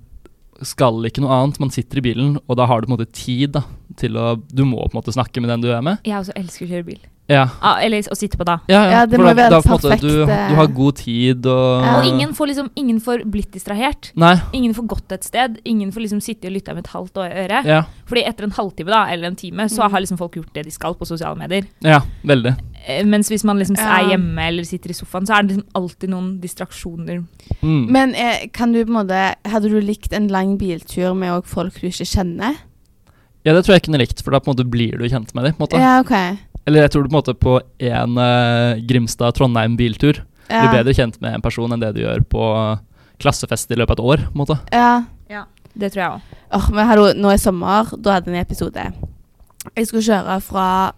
[SPEAKER 4] skal ikke noe annet. Man sitter i bilen, og da har du på en måte tid da til å Du må på en måte snakke med den du er med.
[SPEAKER 3] Jeg også elsker å kjøre bil.
[SPEAKER 4] Ja.
[SPEAKER 3] Ah, eller å sitte på da.
[SPEAKER 4] Ja,
[SPEAKER 2] Ja, det
[SPEAKER 4] for
[SPEAKER 2] må
[SPEAKER 4] da-
[SPEAKER 2] være
[SPEAKER 4] da
[SPEAKER 2] et
[SPEAKER 4] på en måte
[SPEAKER 2] perfekt,
[SPEAKER 4] Du,
[SPEAKER 2] eh,
[SPEAKER 4] du har god tid og
[SPEAKER 2] Ja.
[SPEAKER 3] Og ingen får liksom, ingen får blitt distrahert.
[SPEAKER 4] Nei.
[SPEAKER 3] Ingen får gått et sted. Ingen får liksom sitte og lytte med et halvt øre.
[SPEAKER 4] Ja.
[SPEAKER 3] Fordi etter en halvtime da, eller en time så
[SPEAKER 2] Mm.
[SPEAKER 3] har liksom folk gjort det de skal på sosiale medier.
[SPEAKER 4] ja veldig.
[SPEAKER 3] Eh, mens hvis man liksom
[SPEAKER 2] Ja.
[SPEAKER 3] er hjemme eller sitter i sofaen, så er det liksom alltid noen distraksjoner.
[SPEAKER 4] Mm.
[SPEAKER 2] Men eh, kan du på en måte Hadde du likt en lang biltur med også folk du ikke kjenner?
[SPEAKER 4] ja, det tror jeg kunne likt, for da på en måte blir du kjent med dem. På en måte.
[SPEAKER 2] Ja, OK.
[SPEAKER 4] Eller jeg tror du på en måte på en eh, Grimstad-Trondheim biltur
[SPEAKER 2] Ja.
[SPEAKER 4] blir bedre kjent med en person enn det du gjør på klassefest i løpet av et år. på en måte.
[SPEAKER 2] Ja.
[SPEAKER 3] Det tror jeg òg.
[SPEAKER 2] Åh, men hallo, nå i sommer, da hadde jeg en episode. Jeg skulle kjøre fra,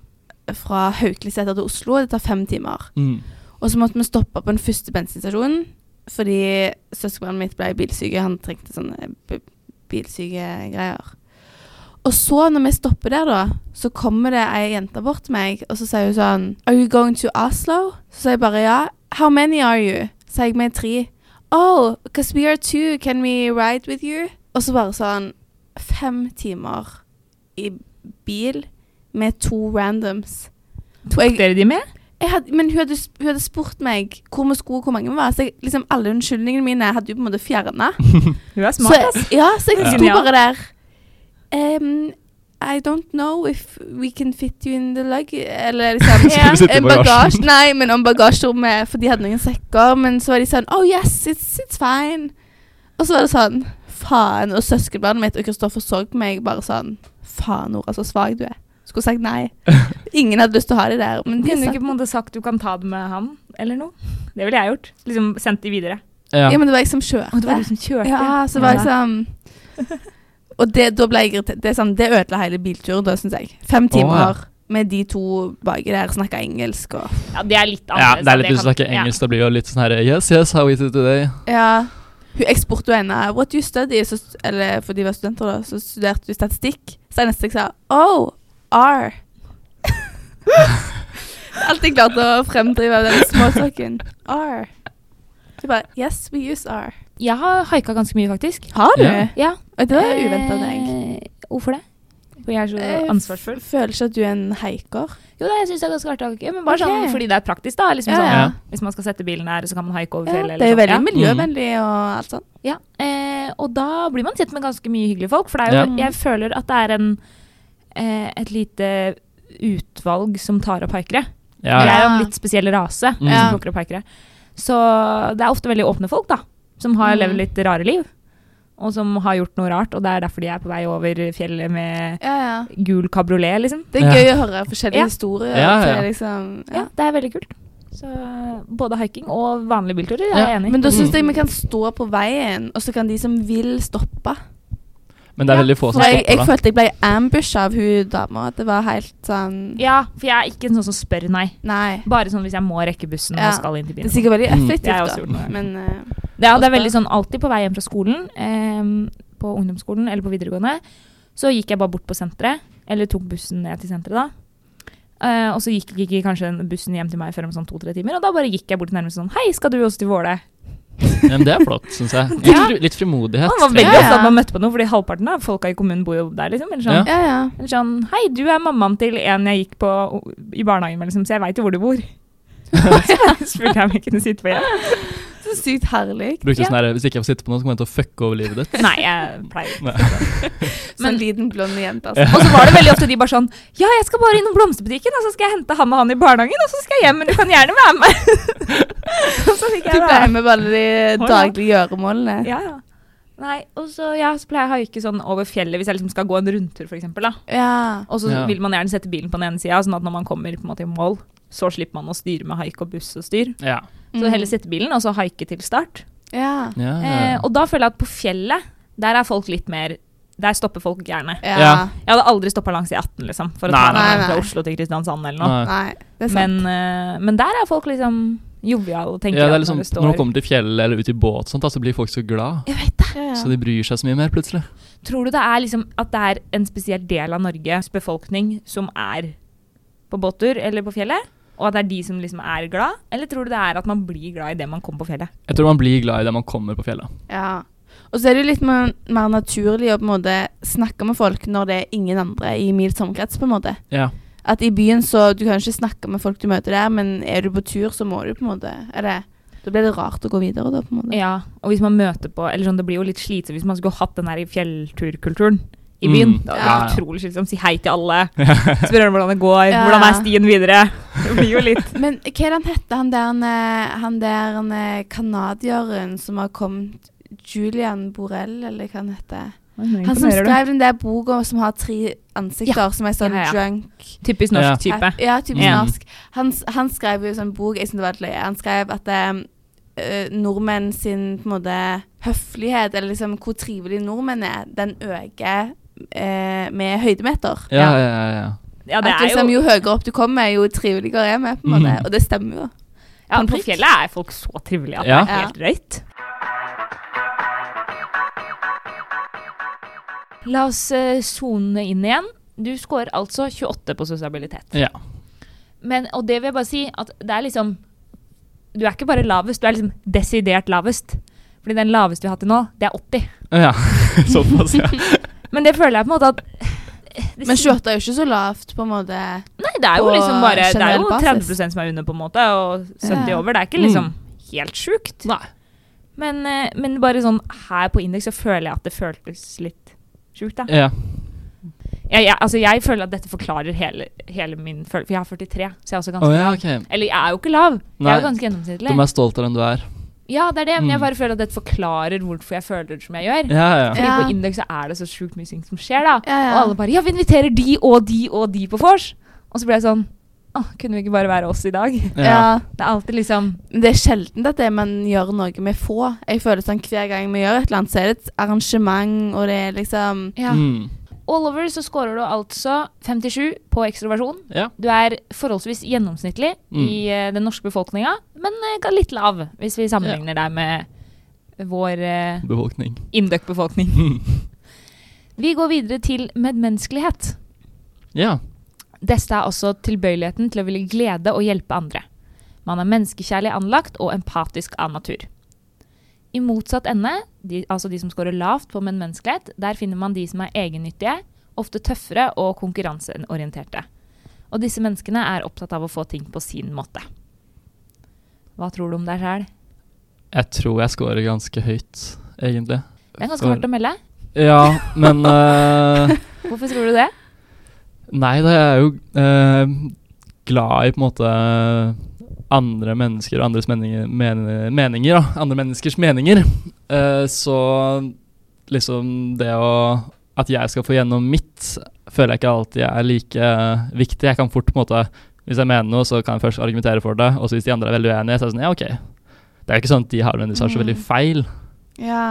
[SPEAKER 2] fra Haukeliseter til Oslo, det tar fem timer.
[SPEAKER 4] Mm.
[SPEAKER 2] Og så måtte vi stoppe på den første bensinstasjonen, fordi søskenbarnet mitt ble bilsyke, han trengte sånne b- bilsykegreier. Og så når vi stopper der da, så kommer det ei jente bort til meg, og så sier hun sånn, Are you going to Oslo? Så sier jeg bare ja. How many are you? Sier jeg med tre. Oh, because we are two, can we ride with you? Og så bare sånn fem timer i bil med to randoms. Og jeg-
[SPEAKER 3] Tok dere de med?
[SPEAKER 2] jeg hadde, men hun hadde, hun hadde spurt meg hvor vi skulle, og hvor mange vi var. Så jeg, liksom, alle unnskyldningene mine hadde hun på en måte fjerna.
[SPEAKER 4] Mm.
[SPEAKER 3] [LAUGHS] Hun er
[SPEAKER 2] Så,
[SPEAKER 3] smart, ass.
[SPEAKER 2] ja, så jeg
[SPEAKER 4] Ja.
[SPEAKER 2] sto
[SPEAKER 3] Genial.
[SPEAKER 2] bare der. Ehm, I don't know if we can fit you in the lug... Eller
[SPEAKER 4] [LAUGHS]
[SPEAKER 2] liksom
[SPEAKER 4] Skulle du sitte i
[SPEAKER 2] eh,
[SPEAKER 4] bagasjen?
[SPEAKER 2] bagasje- Nei, men om bagasjerommet, for de hadde noen sekker. Men så var de sånn Oh yes, it's, it's fine. Og så var det sånn Faen. Og søskenbarnet mitt og Kristoffer så på meg bare sånn Faen, Nora, så svak du er. Skulle sagt
[SPEAKER 4] [LAUGHS]
[SPEAKER 2] nei. Ingen hadde lyst til å ha de der. Men de
[SPEAKER 3] Kunne du
[SPEAKER 2] satt
[SPEAKER 3] ikke på en måte sagt du kan ta det med han, eller noe? Det ville jeg gjort. Liksom sendt de videre.
[SPEAKER 4] Ja.
[SPEAKER 2] Ja. men det var jeg som kjørte.
[SPEAKER 3] Og det var du som kjørte.
[SPEAKER 2] Ja, så var jeg sånn Og det, da ble jeg irritert. Det, er sånn, det ødela hele bilturen, da, syns jeg. Fem
[SPEAKER 4] Å, ja.
[SPEAKER 2] timer med de to baki der, snakka engelsk og
[SPEAKER 3] Ja, det er litt
[SPEAKER 4] ja,
[SPEAKER 3] annerledes.
[SPEAKER 4] det er litt
[SPEAKER 3] kan-
[SPEAKER 4] hvis du snakker engelsk, da blir det jo litt sånn her Yes, yes, how is it today?
[SPEAKER 2] Ja. Hun jeg spurte jo henne What do you study? Så, st- eller for de var studenter, da. Så studerte hun statistikk. Så det neste jeg sa Oh, R. [LAUGHS] Alt jeg klarte å fremdrive av den småtalken. R. Så bare Yes, we use R.
[SPEAKER 3] Ja. Jeg har haika ganske mye, faktisk.
[SPEAKER 2] Har du?
[SPEAKER 4] Ja.
[SPEAKER 3] Ja.
[SPEAKER 2] Oi, Det var uventa av deg.
[SPEAKER 3] Eh, Hvorfor det? Fordi jeg er
[SPEAKER 2] Eh,
[SPEAKER 3] så ansvarsfull.
[SPEAKER 2] f- Føler ikke at du er en haiker.
[SPEAKER 3] Jo da, jeg syns det er ganske artig å haike, men bare
[SPEAKER 2] Ok.
[SPEAKER 3] sånn fordi det er praktisk, da. Liksom
[SPEAKER 2] Ja,
[SPEAKER 3] sånn,
[SPEAKER 4] ja.
[SPEAKER 3] Hvis man skal sette bilen her, så kan man haike over
[SPEAKER 2] Ja,
[SPEAKER 3] fjellet.
[SPEAKER 2] det er jo
[SPEAKER 3] eller sånn.
[SPEAKER 2] veldig miljøvennlig og alt sånt.
[SPEAKER 3] ja. ja. Eh, og da blir man kjent med ganske mye hyggelige folk, for det er jo,
[SPEAKER 2] Ja.
[SPEAKER 3] jeg føler at det er en, eh, et lite utvalg som tar opp haikere.
[SPEAKER 4] Ja,
[SPEAKER 3] Det
[SPEAKER 4] ja.
[SPEAKER 3] er jo en litt spesiell rase
[SPEAKER 4] Mm.
[SPEAKER 3] som
[SPEAKER 2] Ja.
[SPEAKER 3] plukker opp haikere. Så det er ofte veldig åpne folk, da. Som har
[SPEAKER 2] Mm.
[SPEAKER 3] levd litt rare liv. Og som har gjort noe rart, og det er derfor de er på vei over fjellet med
[SPEAKER 2] Ja, ja.
[SPEAKER 3] gul kabriolet, liksom.
[SPEAKER 2] Det er
[SPEAKER 4] Ja.
[SPEAKER 2] gøy å høre forskjellige
[SPEAKER 3] Ja.
[SPEAKER 2] historier.
[SPEAKER 4] Ja,
[SPEAKER 2] for
[SPEAKER 4] ja.
[SPEAKER 2] det er Liksom, ja.
[SPEAKER 3] Ja, det er veldig kult. Så både haiking og vanlige bilturer er
[SPEAKER 4] Ja,
[SPEAKER 3] jeg enig i.
[SPEAKER 2] Men da syns
[SPEAKER 4] Mm.
[SPEAKER 2] jeg vi kan stå på veien, og så kan de som vil, stoppe.
[SPEAKER 4] Men det er
[SPEAKER 3] Ja,
[SPEAKER 4] veldig
[SPEAKER 2] For
[SPEAKER 4] få som
[SPEAKER 2] jeg, jeg
[SPEAKER 4] stopper, da.
[SPEAKER 2] følte jeg ble ambusha av hun dama. Det var helt sånn
[SPEAKER 3] Ja, for jeg er ikke en sånn som spør nei.
[SPEAKER 2] Nei.
[SPEAKER 3] Bare sånn hvis jeg må rekke bussen
[SPEAKER 2] Ja.
[SPEAKER 3] og skal inn til
[SPEAKER 2] Det er
[SPEAKER 3] byen.
[SPEAKER 2] sikkert veldig
[SPEAKER 4] Mm.
[SPEAKER 3] Det er
[SPEAKER 2] effektivt,
[SPEAKER 3] også gjort
[SPEAKER 2] da.
[SPEAKER 3] noe.
[SPEAKER 2] Men eh,
[SPEAKER 3] Det, ja, det er
[SPEAKER 2] Ofte.
[SPEAKER 3] veldig sånn alltid på vei hjem fra skolen, ehm, på ungdomsskolen eller på videregående, så gikk jeg bare bort på senteret, eller tok bussen ned til senteret da. Eh, og så gikk ikke kanskje den bussen hjem til meg før om sånn to-tre timer, og da bare gikk jeg bort til nærmest sånn, hei, skal du også til Våle?
[SPEAKER 4] Ja, men det er flott, syns jeg. Litt,
[SPEAKER 3] Ja.
[SPEAKER 4] fri- litt frimodighet.
[SPEAKER 3] Og det var veldig
[SPEAKER 4] trenger
[SPEAKER 2] Ja,
[SPEAKER 4] jeg.
[SPEAKER 2] ja.
[SPEAKER 3] ofte at man møtte på noe, fordi halvparten av folka i kommunen bor jo der, liksom. Eller sånn,
[SPEAKER 4] Ja.
[SPEAKER 2] ja, ja.
[SPEAKER 3] eller sånn hei, du er mammaen til en jeg gikk på o- i barnehagen med, liksom, så jeg veit jo hvor du
[SPEAKER 2] [LAUGHS]
[SPEAKER 3] bor. [LAUGHS] Så spurte jeg om jeg kunne sitte på hjem.
[SPEAKER 2] Så sykt herlig.
[SPEAKER 4] Brukte
[SPEAKER 3] Ja.
[SPEAKER 4] sånn her, Hvis ikke jeg får sitte på noe, så kommer jeg til å fucke over livet ditt.
[SPEAKER 3] Nei, jeg pleier
[SPEAKER 4] Nei.
[SPEAKER 2] Sånn
[SPEAKER 3] Men-
[SPEAKER 2] liten, blond jente, altså.
[SPEAKER 3] Og så var det veldig ofte de bare sånn Ja, jeg skal bare innom blomsterbutikken, og så skal jeg hente han og han i barnehagen, og så skal jeg hjem, men du kan gjerne være med. [LAUGHS] og så fikk
[SPEAKER 2] Du
[SPEAKER 3] jeg
[SPEAKER 2] ble
[SPEAKER 3] være med.
[SPEAKER 2] med på alle de
[SPEAKER 3] Å, ja.
[SPEAKER 2] daglige gjøremålene.
[SPEAKER 3] Ja, ja. Nei, og så, ja, så pleier jeg å haike sånn over fjellet hvis jeg liksom skal gå en rundtur, for eksempel, da.
[SPEAKER 2] Ja.
[SPEAKER 3] Og så
[SPEAKER 4] Ja.
[SPEAKER 3] vil man gjerne sette bilen på den ene sida, sånn at når man kommer på en måte i mål, så slipper man å styre med haik og buss og styr.
[SPEAKER 4] Ja.
[SPEAKER 3] Så heller sette bilen, og så haike til start.
[SPEAKER 2] Mm. Ja.
[SPEAKER 4] Ah, Ja,
[SPEAKER 3] Eh, og da føler jeg at på fjellet, der er folk litt mer Der stopper folk gjerne.
[SPEAKER 2] Ja.
[SPEAKER 4] Ja.
[SPEAKER 3] Jeg hadde aldri stoppa langs E18, liksom, for å
[SPEAKER 4] Nei,
[SPEAKER 3] ta
[SPEAKER 2] nei,
[SPEAKER 3] meg
[SPEAKER 2] nei.
[SPEAKER 3] fra Oslo til Kristiansand eller noe.
[SPEAKER 4] Nei.
[SPEAKER 2] Nei, det er sant.
[SPEAKER 3] Men, eh, men der er folk liksom joviale, tenker
[SPEAKER 4] ja, det er
[SPEAKER 3] jeg.
[SPEAKER 4] liksom,
[SPEAKER 3] når det
[SPEAKER 4] når man
[SPEAKER 3] står-
[SPEAKER 4] kommer til fjellet eller ut i båt, sånt, da, så blir folk så glad.
[SPEAKER 3] Jeg vet det.
[SPEAKER 2] Ja, ja.
[SPEAKER 4] Så de bryr seg så mye mer, plutselig.
[SPEAKER 3] Tror du det er liksom at det er en spesiell del av Norges befolkning som er på båttur eller på fjellet? Og at det er de som liksom er glad? Eller tror du det er at man blir glad idet man kommer på fjellet?
[SPEAKER 4] Jeg tror man blir glad i det man kommer på fjellet.
[SPEAKER 2] Ja. Og så er det jo litt mer, mer naturlig å på en måte snakke med folk når det er ingen andre i mils omkrets, på en måte.
[SPEAKER 4] Ja.
[SPEAKER 2] At i byen så Du kan ikke snakke med folk du møter der, men er du på tur, så må du på en måte er det, Da blir det rart å gå videre, da, på en måte.
[SPEAKER 3] Ja, og hvis man møter på Eller sånn, det blir jo litt slitsomt hvis man skulle hatt den der i fjellturkulturen i byen.
[SPEAKER 4] Mm,
[SPEAKER 3] Det
[SPEAKER 2] ja,
[SPEAKER 3] er
[SPEAKER 4] ja.
[SPEAKER 3] utrolig slitsomt. Si hei til
[SPEAKER 4] [LAUGHS]
[SPEAKER 3] alle. Spørre om hvordan det går. Hvordan er stien videre? Det blir jo litt
[SPEAKER 2] Men hva er det han heter, han der, eh, han der eh, kanadieren som har kommet Julian Borrell, eller [LAUGHS] hva han heter. Han som skrev den der boka som har tre ansikter, som er sånn
[SPEAKER 3] Ja, ja, ja.
[SPEAKER 2] drunk
[SPEAKER 3] Typisk
[SPEAKER 4] Ja.
[SPEAKER 3] norsk type.
[SPEAKER 2] App- Ja, typisk
[SPEAKER 4] Ja.
[SPEAKER 2] norsk. Han, s- han skrev jo en sånn bok, jeg synes det var et løye, han skrev at eh, nordmenn sin på en måte høflighet, eller liksom hvor trivelig nordmenn er, den øker eh, med høydemeter.
[SPEAKER 4] Ja, ja, ja. ja.
[SPEAKER 3] Ja, det
[SPEAKER 2] at
[SPEAKER 3] er
[SPEAKER 2] liksom,
[SPEAKER 3] jo
[SPEAKER 2] jo høyere opp du kommer, jo triveligere er vi, på en måte.
[SPEAKER 4] Mhm.
[SPEAKER 2] Og det stemmer jo.
[SPEAKER 3] ja, På
[SPEAKER 2] prikk.
[SPEAKER 3] fjellet er folk så trivelige at
[SPEAKER 4] Ja.
[SPEAKER 3] det er helt drøyt. La oss eh, sone inn igjen. Du scorer altså 28 på sosialitet.
[SPEAKER 4] ja.
[SPEAKER 3] Men, og det vil jeg bare si, at det er liksom Du er ikke bare lavest, du er liksom desidert lavest. Fordi den laveste vi har hatt til nå, det er 80.
[SPEAKER 4] ja. [LAUGHS] Såpass, ja.
[SPEAKER 3] [LAUGHS] Men det føler jeg på en måte at eh, det
[SPEAKER 2] Men
[SPEAKER 3] sier-
[SPEAKER 2] 28 er jo ikke så lavt, på en måte.
[SPEAKER 3] Nei, det er jo
[SPEAKER 2] på
[SPEAKER 3] liksom bare Det er jo
[SPEAKER 2] generell basis.
[SPEAKER 3] 30 som er under, på en måte, og 70
[SPEAKER 2] Ja.
[SPEAKER 3] over. Det er ikke
[SPEAKER 4] Mm.
[SPEAKER 3] liksom helt sjukt.
[SPEAKER 4] Nei.
[SPEAKER 3] Men, eh, men bare sånn her på indeks så føler jeg at det føltes litt sjukt, da.
[SPEAKER 4] ja.
[SPEAKER 3] Jeg, jeg, altså, jeg føler at dette forklarer hele, hele min følelse. For jeg har 43, så jeg er også
[SPEAKER 4] Å
[SPEAKER 3] ganske
[SPEAKER 4] ja,
[SPEAKER 3] lav.
[SPEAKER 4] ok.
[SPEAKER 3] Eller jeg er jo ikke lav. Jeg er
[SPEAKER 4] Nei.
[SPEAKER 3] jo ganske
[SPEAKER 4] Du
[SPEAKER 3] gjennomsnittlig.
[SPEAKER 4] er stoltere enn du er.
[SPEAKER 3] Ja, det er det, men jeg
[SPEAKER 4] Mm.
[SPEAKER 3] bare føler at dette forklarer hvorfor jeg føler det som jeg gjør.
[SPEAKER 4] Ja, ja.
[SPEAKER 3] Fordi
[SPEAKER 2] Ja.
[SPEAKER 3] på Indeks så er det så sjukt mye ting som skjer, da.
[SPEAKER 2] Ja, ja.
[SPEAKER 3] Og alle bare 'ja, vi inviterer de og de og de på vors'. Og så ble jeg sånn Å, kunne vi ikke bare være oss i dag? Det
[SPEAKER 4] ja.
[SPEAKER 2] ja.
[SPEAKER 3] er alltid liksom
[SPEAKER 2] Men det er sjelden at det man gjør noe med få. Jeg føler sånn Hver gang vi gjør et eller annet, så er det et arrangement, og det er liksom
[SPEAKER 3] ja.
[SPEAKER 4] Mm.
[SPEAKER 3] All over så scorer du altså 57 på ekstroversjon.
[SPEAKER 4] ja.
[SPEAKER 3] Du er forholdsvis gjennomsnittlig
[SPEAKER 4] Mm.
[SPEAKER 3] i eh, den norske befolkninga, men eh, litt lav hvis vi sammenligner deg med vår eh,
[SPEAKER 4] Befolkning. [LAUGHS]
[SPEAKER 3] Indøk-befolkning.
[SPEAKER 4] Mm.
[SPEAKER 3] Vi går videre til medmenneskelighet.
[SPEAKER 4] Ja.
[SPEAKER 3] Dette er også tilbøyeligheten til å ville glede og hjelpe andre. Man er menneskekjærlig anlagt og empatisk av natur. I motsatt ende, de, altså de som scorer lavt på medmenneskelighet, der finner man de som er egennyttige, ofte tøffere og konkurranseorienterte. Og disse menneskene er opptatt av å få ting på sin måte. Hva tror du om deg sjæl?
[SPEAKER 4] Jeg tror jeg scorer ganske høyt, egentlig.
[SPEAKER 3] Det er ganske
[SPEAKER 4] For-
[SPEAKER 3] hardt å melde.
[SPEAKER 4] Ja, men [LAUGHS] eh,
[SPEAKER 3] Hvorfor tror du det?
[SPEAKER 4] Nei, da jeg er jo eh, glad i på en måte andre mennesker og andres meninger, men, meninger da. Andre menneskers meninger. Eh, så liksom det å At jeg skal få gjennom mitt, føler jeg ikke alltid er like eh, viktig. Jeg kan fort på en måte Hvis jeg mener noe, så kan jeg først argumentere for det. Og så hvis de andre er veldig uenige, så er det sånn Ja, OK. Det er jo ikke sånn at de har nødvendigvis har så
[SPEAKER 3] Mm.
[SPEAKER 4] veldig feil.
[SPEAKER 2] Ja.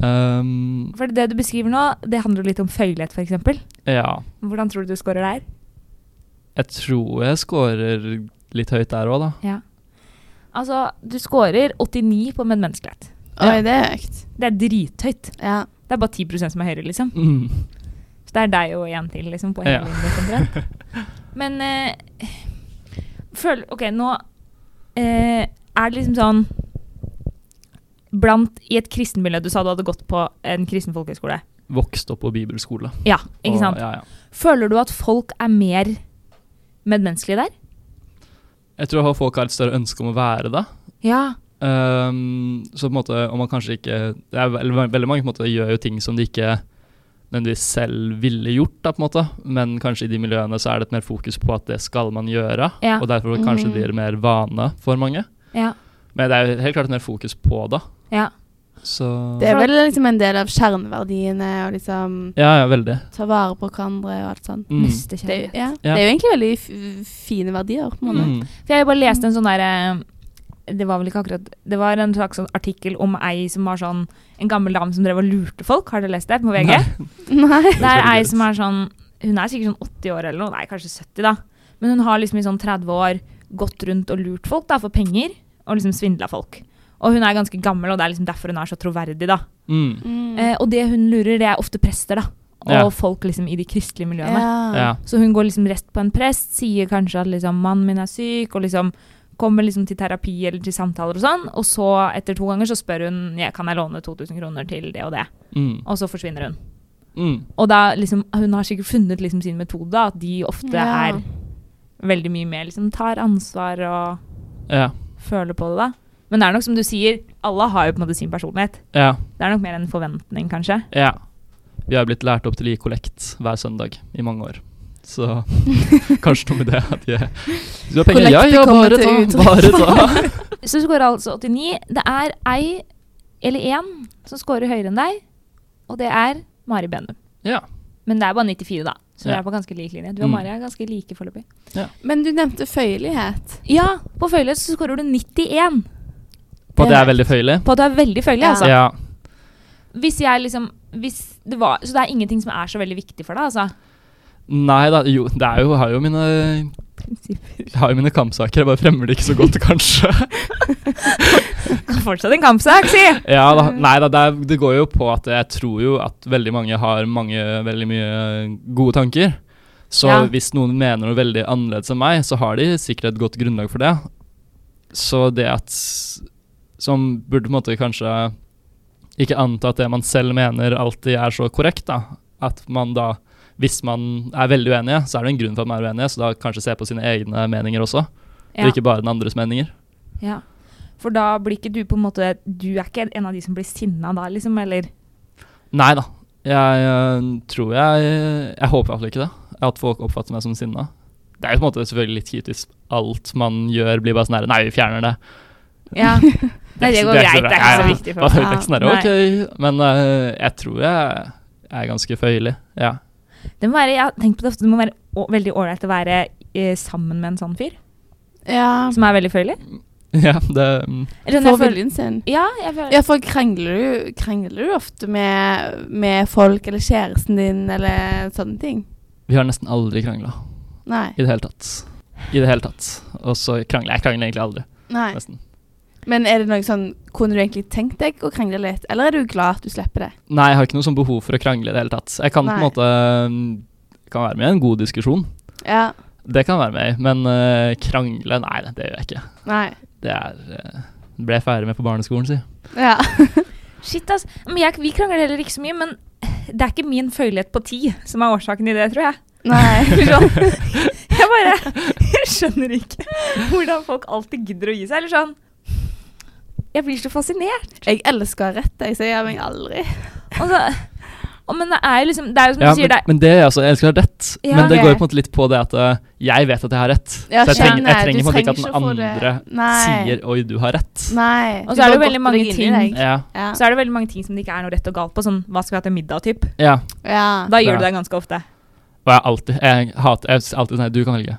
[SPEAKER 4] Um,
[SPEAKER 3] For det du beskriver nå, det handler litt om føyelighet, f.eks.
[SPEAKER 4] ja.
[SPEAKER 3] Hvordan tror du du scorer der?
[SPEAKER 4] Jeg tror jeg scorer litt høyt der òg, da.
[SPEAKER 3] Ja. Altså, du scorer 89 på medmenneskelighet.
[SPEAKER 2] Oi, det er høyt.
[SPEAKER 3] Det er drithøyt.
[SPEAKER 2] Ja.
[SPEAKER 3] Det er bare 10 som er høyere, liksom.
[SPEAKER 4] Mm. [CLEARS THROAT]
[SPEAKER 3] Så det er deg og én til, liksom, på
[SPEAKER 4] Ja.
[SPEAKER 3] hele linjen,
[SPEAKER 4] [LAUGHS]
[SPEAKER 3] omtrent. Men eh, føl OK, nå eh, er det liksom sånn Blant I et kristenmiljø Du sa du hadde gått på en kristen folkehøyskole.
[SPEAKER 4] Vokste opp på bibelskole.
[SPEAKER 3] Ja, ikke
[SPEAKER 4] og-
[SPEAKER 3] sant?
[SPEAKER 4] Ja, ja.
[SPEAKER 3] Føler du at folk er mer medmenneskelige der?
[SPEAKER 4] Jeg tror folk har et større ønske om å være det.
[SPEAKER 3] Ja.
[SPEAKER 4] Um, så på en måte, om man kanskje ikke det er veldig, veldig mange på en måte, gjør jo ting som de ikke nødvendigvis selv ville gjort, da, på en måte. men kanskje i de miljøene så er det et mer fokus på at det skal man gjøre,
[SPEAKER 3] Ja. Mm.
[SPEAKER 4] og derfor kanskje
[SPEAKER 2] Mhm.
[SPEAKER 4] det blir mer vane for mange.
[SPEAKER 3] Ja.
[SPEAKER 4] Men det er jo helt klart et mer fokus på det.
[SPEAKER 3] ja.
[SPEAKER 4] Så
[SPEAKER 2] Det er vel liksom en del av kjerneverdiene å liksom
[SPEAKER 4] Ja, ja, veldig.
[SPEAKER 2] ta vare på hverandre og alt sånt.
[SPEAKER 4] Mm.
[SPEAKER 2] Det,
[SPEAKER 3] Nestekjærlighet.
[SPEAKER 2] er- ja.
[SPEAKER 4] Ja.
[SPEAKER 2] det er jo egentlig veldig f fine verdier,
[SPEAKER 3] sånn.
[SPEAKER 2] på en måte.
[SPEAKER 4] Mm.
[SPEAKER 3] For jeg bare leste en sånn der eh, Det var vel ikke akkurat Det var en slags sånn artikkel om ei som var sånn En gammel dame som drev og lurte folk. Har dere lest det på VG?
[SPEAKER 4] Nei.
[SPEAKER 2] [LAUGHS] Nei.
[SPEAKER 3] Det er ei
[SPEAKER 4] Selvfølgelig.
[SPEAKER 3] som er sånn Hun er sikkert sånn 80 år eller noe. Nei, kanskje 70, da. Men hun har liksom i sånn 30 år gått rundt og lurt folk da for penger. Og liksom svindla folk. Og hun er ganske gammel, og det er liksom derfor hun er så troverdig, da.
[SPEAKER 4] Mm.
[SPEAKER 2] Mm.
[SPEAKER 3] Eh, og det hun lurer, det er ofte prester, da. Og
[SPEAKER 4] Ja.
[SPEAKER 3] folk liksom i de kristelige miljøene.
[SPEAKER 2] ja.
[SPEAKER 4] Ja.
[SPEAKER 3] Så hun går liksom rett på en prest, sier kanskje at liksom mannen min er syk, og liksom kommer liksom til terapi eller til samtaler og sånn. Og så etter to ganger så spør hun ja, kan jeg låne 2000 kroner til det og det.
[SPEAKER 4] Mm.
[SPEAKER 3] Og så forsvinner hun.
[SPEAKER 4] Mm.
[SPEAKER 3] Og da, liksom, hun har sikkert funnet liksom, sin metode, da, at de ofte
[SPEAKER 2] Ja.
[SPEAKER 3] er veldig mye mer liksom, tar ansvar og
[SPEAKER 4] Ja.
[SPEAKER 3] føler på det. da. Men det er nok som du sier, alle har jo på en måte sin personlighet.
[SPEAKER 4] Ja.
[SPEAKER 3] Det er nok mer en forventning, kanskje.
[SPEAKER 4] ja. Vi har blitt lært opp til å gi kollekt hver søndag i mange år.
[SPEAKER 2] [LAUGHS]
[SPEAKER 4] Så kanskje noe med det. At jeg, du har penger? Ja,
[SPEAKER 2] Kollektet
[SPEAKER 4] ja,
[SPEAKER 2] kommer
[SPEAKER 4] bare ta.
[SPEAKER 2] til
[SPEAKER 4] Bare ta.
[SPEAKER 2] [LAUGHS]
[SPEAKER 3] Så skårer altså 89. Det er ei eller én som skårer høyere enn deg, og det er Mari Benum.
[SPEAKER 4] Ja.
[SPEAKER 3] Men det er bare 94, da. Så
[SPEAKER 4] Ja.
[SPEAKER 3] vi er på ganske lik linje. Du og
[SPEAKER 4] Mm.
[SPEAKER 3] Mari er ganske like foreløpig.
[SPEAKER 2] Men du nevnte føyelighet.
[SPEAKER 3] Ja, på følelse så skårer du 91.
[SPEAKER 4] På at jeg er veldig føyelig?
[SPEAKER 3] På at du er veldig følelig,
[SPEAKER 2] Ja.
[SPEAKER 3] altså.
[SPEAKER 4] Ja.
[SPEAKER 3] Hvis jeg liksom hvis det var, Så det er ingenting som er så veldig viktig for deg, altså?
[SPEAKER 4] Nei da, jo, det er jo, jeg har jo mine, jeg har jo mine kampsaker. Jeg bare fremmer det ikke så godt, [LAUGHS] kanskje.
[SPEAKER 3] Fortsatt en kampsak, si!
[SPEAKER 4] Ja da, nei da, det, er, det går jo på at jeg tror jo at veldig mange har mange, veldig mye gode tanker. Så
[SPEAKER 3] Ja.
[SPEAKER 4] hvis noen mener noe veldig annerledes enn meg, så har de sikkert et godt grunnlag for det. Så det at Som burde på en måte kanskje ikke anta at det man selv mener alltid er så korrekt, da. At man da, hvis man er veldig uenige, så er det en grunn for at man er uenige, så da kanskje se på sine egne meninger også,
[SPEAKER 3] Ja.
[SPEAKER 4] og ikke bare den andres meninger.
[SPEAKER 3] ja. For da blir ikke du på en måte Du er ikke en av de som blir sinna da, liksom? Eller
[SPEAKER 4] Nei da. Jeg øh, tror jeg Jeg håper iallfall ikke det. At folk oppfatter meg som sinna. Det er jo på en måte selvfølgelig litt kritisk. Alt man gjør, blir bare sånn her Nei, vi fjerner det.
[SPEAKER 3] Ja. [LAUGHS] Nei, det går greit. Det er ikke så viktig for Ah,
[SPEAKER 4] meg.
[SPEAKER 2] meg.
[SPEAKER 4] Det er ikke sånn her, ok. Men øh, jeg tror jeg er ganske føyelig. Ja. [LAUGHS]
[SPEAKER 3] Det må være, jeg har tenkt på det ofte, det må være å, veldig ålreit å være eh, sammen med en sånn fyr.
[SPEAKER 2] Ja.
[SPEAKER 3] Som er veldig følelig.
[SPEAKER 4] ja det, mm.
[SPEAKER 3] Eller sånn,
[SPEAKER 2] For
[SPEAKER 3] jeg føler-
[SPEAKER 2] viljen sin.
[SPEAKER 3] Ja, jeg føler
[SPEAKER 2] Ja, for krangler du, krangler du ofte med, med folk eller kjæresten din eller sånne ting?
[SPEAKER 4] Vi har nesten aldri krangla
[SPEAKER 2] Nei.
[SPEAKER 4] i det hele tatt. I det hele tatt. Og så krangler jeg. krangler egentlig aldri.
[SPEAKER 2] Nei.
[SPEAKER 4] Nesten.
[SPEAKER 2] Men er det noe sånn Kunne du egentlig tenkt deg å krangle litt, eller er du glad at du slipper det?
[SPEAKER 4] Nei, jeg har ikke noe sånn behov for å krangle i det hele tatt. Jeg kan på
[SPEAKER 2] Nei.
[SPEAKER 4] en måte mm, kan være med i en god diskusjon.
[SPEAKER 2] Ja.
[SPEAKER 4] Det kan være med i, men eh, krangle Nei, det, det gjør jeg ikke.
[SPEAKER 2] Nei.
[SPEAKER 4] Det er eh, ble jeg ferdig med på barneskolen, si.
[SPEAKER 2] Ja.
[SPEAKER 3] Shit, ass. Men jeg, vi krangler heller ikke så mye, men det er ikke min følelighet på ti som er årsaken i det, tror
[SPEAKER 4] [LAUGHS]
[SPEAKER 3] jeg.
[SPEAKER 2] Nei. [LAUGHS]
[SPEAKER 3] Sånn. Jeg bare [LAUGHS] jeg skjønner ikke hvordan folk alltid gidder å gi seg. Eller sånn Jeg blir så fascinert.
[SPEAKER 2] Jeg elsker å ha rett, jeg, så jeg gjør meg aldri.
[SPEAKER 3] Og så, og men det er jo liksom Det er jo som
[SPEAKER 4] Ja,
[SPEAKER 3] du sier,
[SPEAKER 4] men,
[SPEAKER 3] det er
[SPEAKER 4] men det er altså, jeg elsker å ha rett,
[SPEAKER 3] Ja,
[SPEAKER 4] men det
[SPEAKER 3] ok.
[SPEAKER 4] går jo på en måte litt på det at eh, jeg vet at jeg har rett.
[SPEAKER 2] Ja,
[SPEAKER 4] så jeg trenger, jeg
[SPEAKER 2] skjønner. Du
[SPEAKER 4] trenger på en måte ikke at
[SPEAKER 2] trenger ikke å
[SPEAKER 4] den
[SPEAKER 2] få det.
[SPEAKER 4] andre
[SPEAKER 2] Nei.
[SPEAKER 4] sier 'oi, du har rett'.
[SPEAKER 2] Nei.
[SPEAKER 3] Og så
[SPEAKER 2] Du
[SPEAKER 3] er det
[SPEAKER 2] bare
[SPEAKER 3] veldig
[SPEAKER 2] godter
[SPEAKER 3] mange
[SPEAKER 2] deg inn i
[SPEAKER 3] ting.
[SPEAKER 2] deg.
[SPEAKER 4] Ja,
[SPEAKER 2] Ja.
[SPEAKER 3] så er det veldig mange ting som det ikke er noe rett og galt på. Sånn, hva skal vi ha til middag? Typ.
[SPEAKER 4] ja.
[SPEAKER 2] ja.
[SPEAKER 3] Da gjør
[SPEAKER 4] Ja.
[SPEAKER 3] du det ganske ofte.
[SPEAKER 4] Og jeg alltid Jeg hater jeg er alltid sånn her, Du kan velge.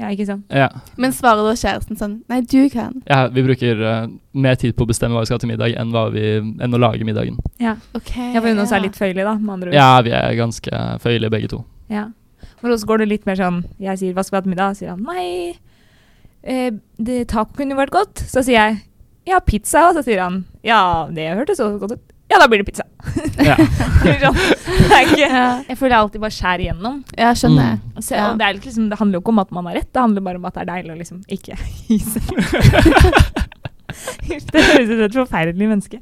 [SPEAKER 3] Ja, ikke sant?
[SPEAKER 4] Ja.
[SPEAKER 2] Men svarer da kjæresten sånn Nei, du kan.
[SPEAKER 4] Ja, vi bruker eh, mer tid på å bestemme hva vi skal ha til middag, enn, hva vi, enn å lage middagen.
[SPEAKER 3] Ja.
[SPEAKER 2] OK.
[SPEAKER 3] Jeg får unna seg litt føyelig, da. Med andre ord.
[SPEAKER 4] Ja, vi er ganske føyelige begge to.
[SPEAKER 3] Ja. For så går det litt mer sånn Jeg sier 'hva skal vi ha til middag?' sier han nei. Eh, det, taco kunne vært godt. Så sier jeg 'ja, pizza'. Og så sier han 'ja, det hørtes så godt ut'. Ja, da blir det pizza. [LAUGHS]
[SPEAKER 4] Ja.
[SPEAKER 3] Det er sånn. Det er ikke,
[SPEAKER 2] Ja,
[SPEAKER 3] jeg føler jeg alltid bare skjærer igjennom.
[SPEAKER 2] ja [LAUGHS] skjønner.
[SPEAKER 4] Mm.
[SPEAKER 3] Så,
[SPEAKER 2] Ja.
[SPEAKER 3] og det, er litt liksom, det handler jo ikke om at man har rett, det handler bare om at det er deilig å liksom ikke [LAUGHS] gi seg. det høres ut som et forferdelig menneske.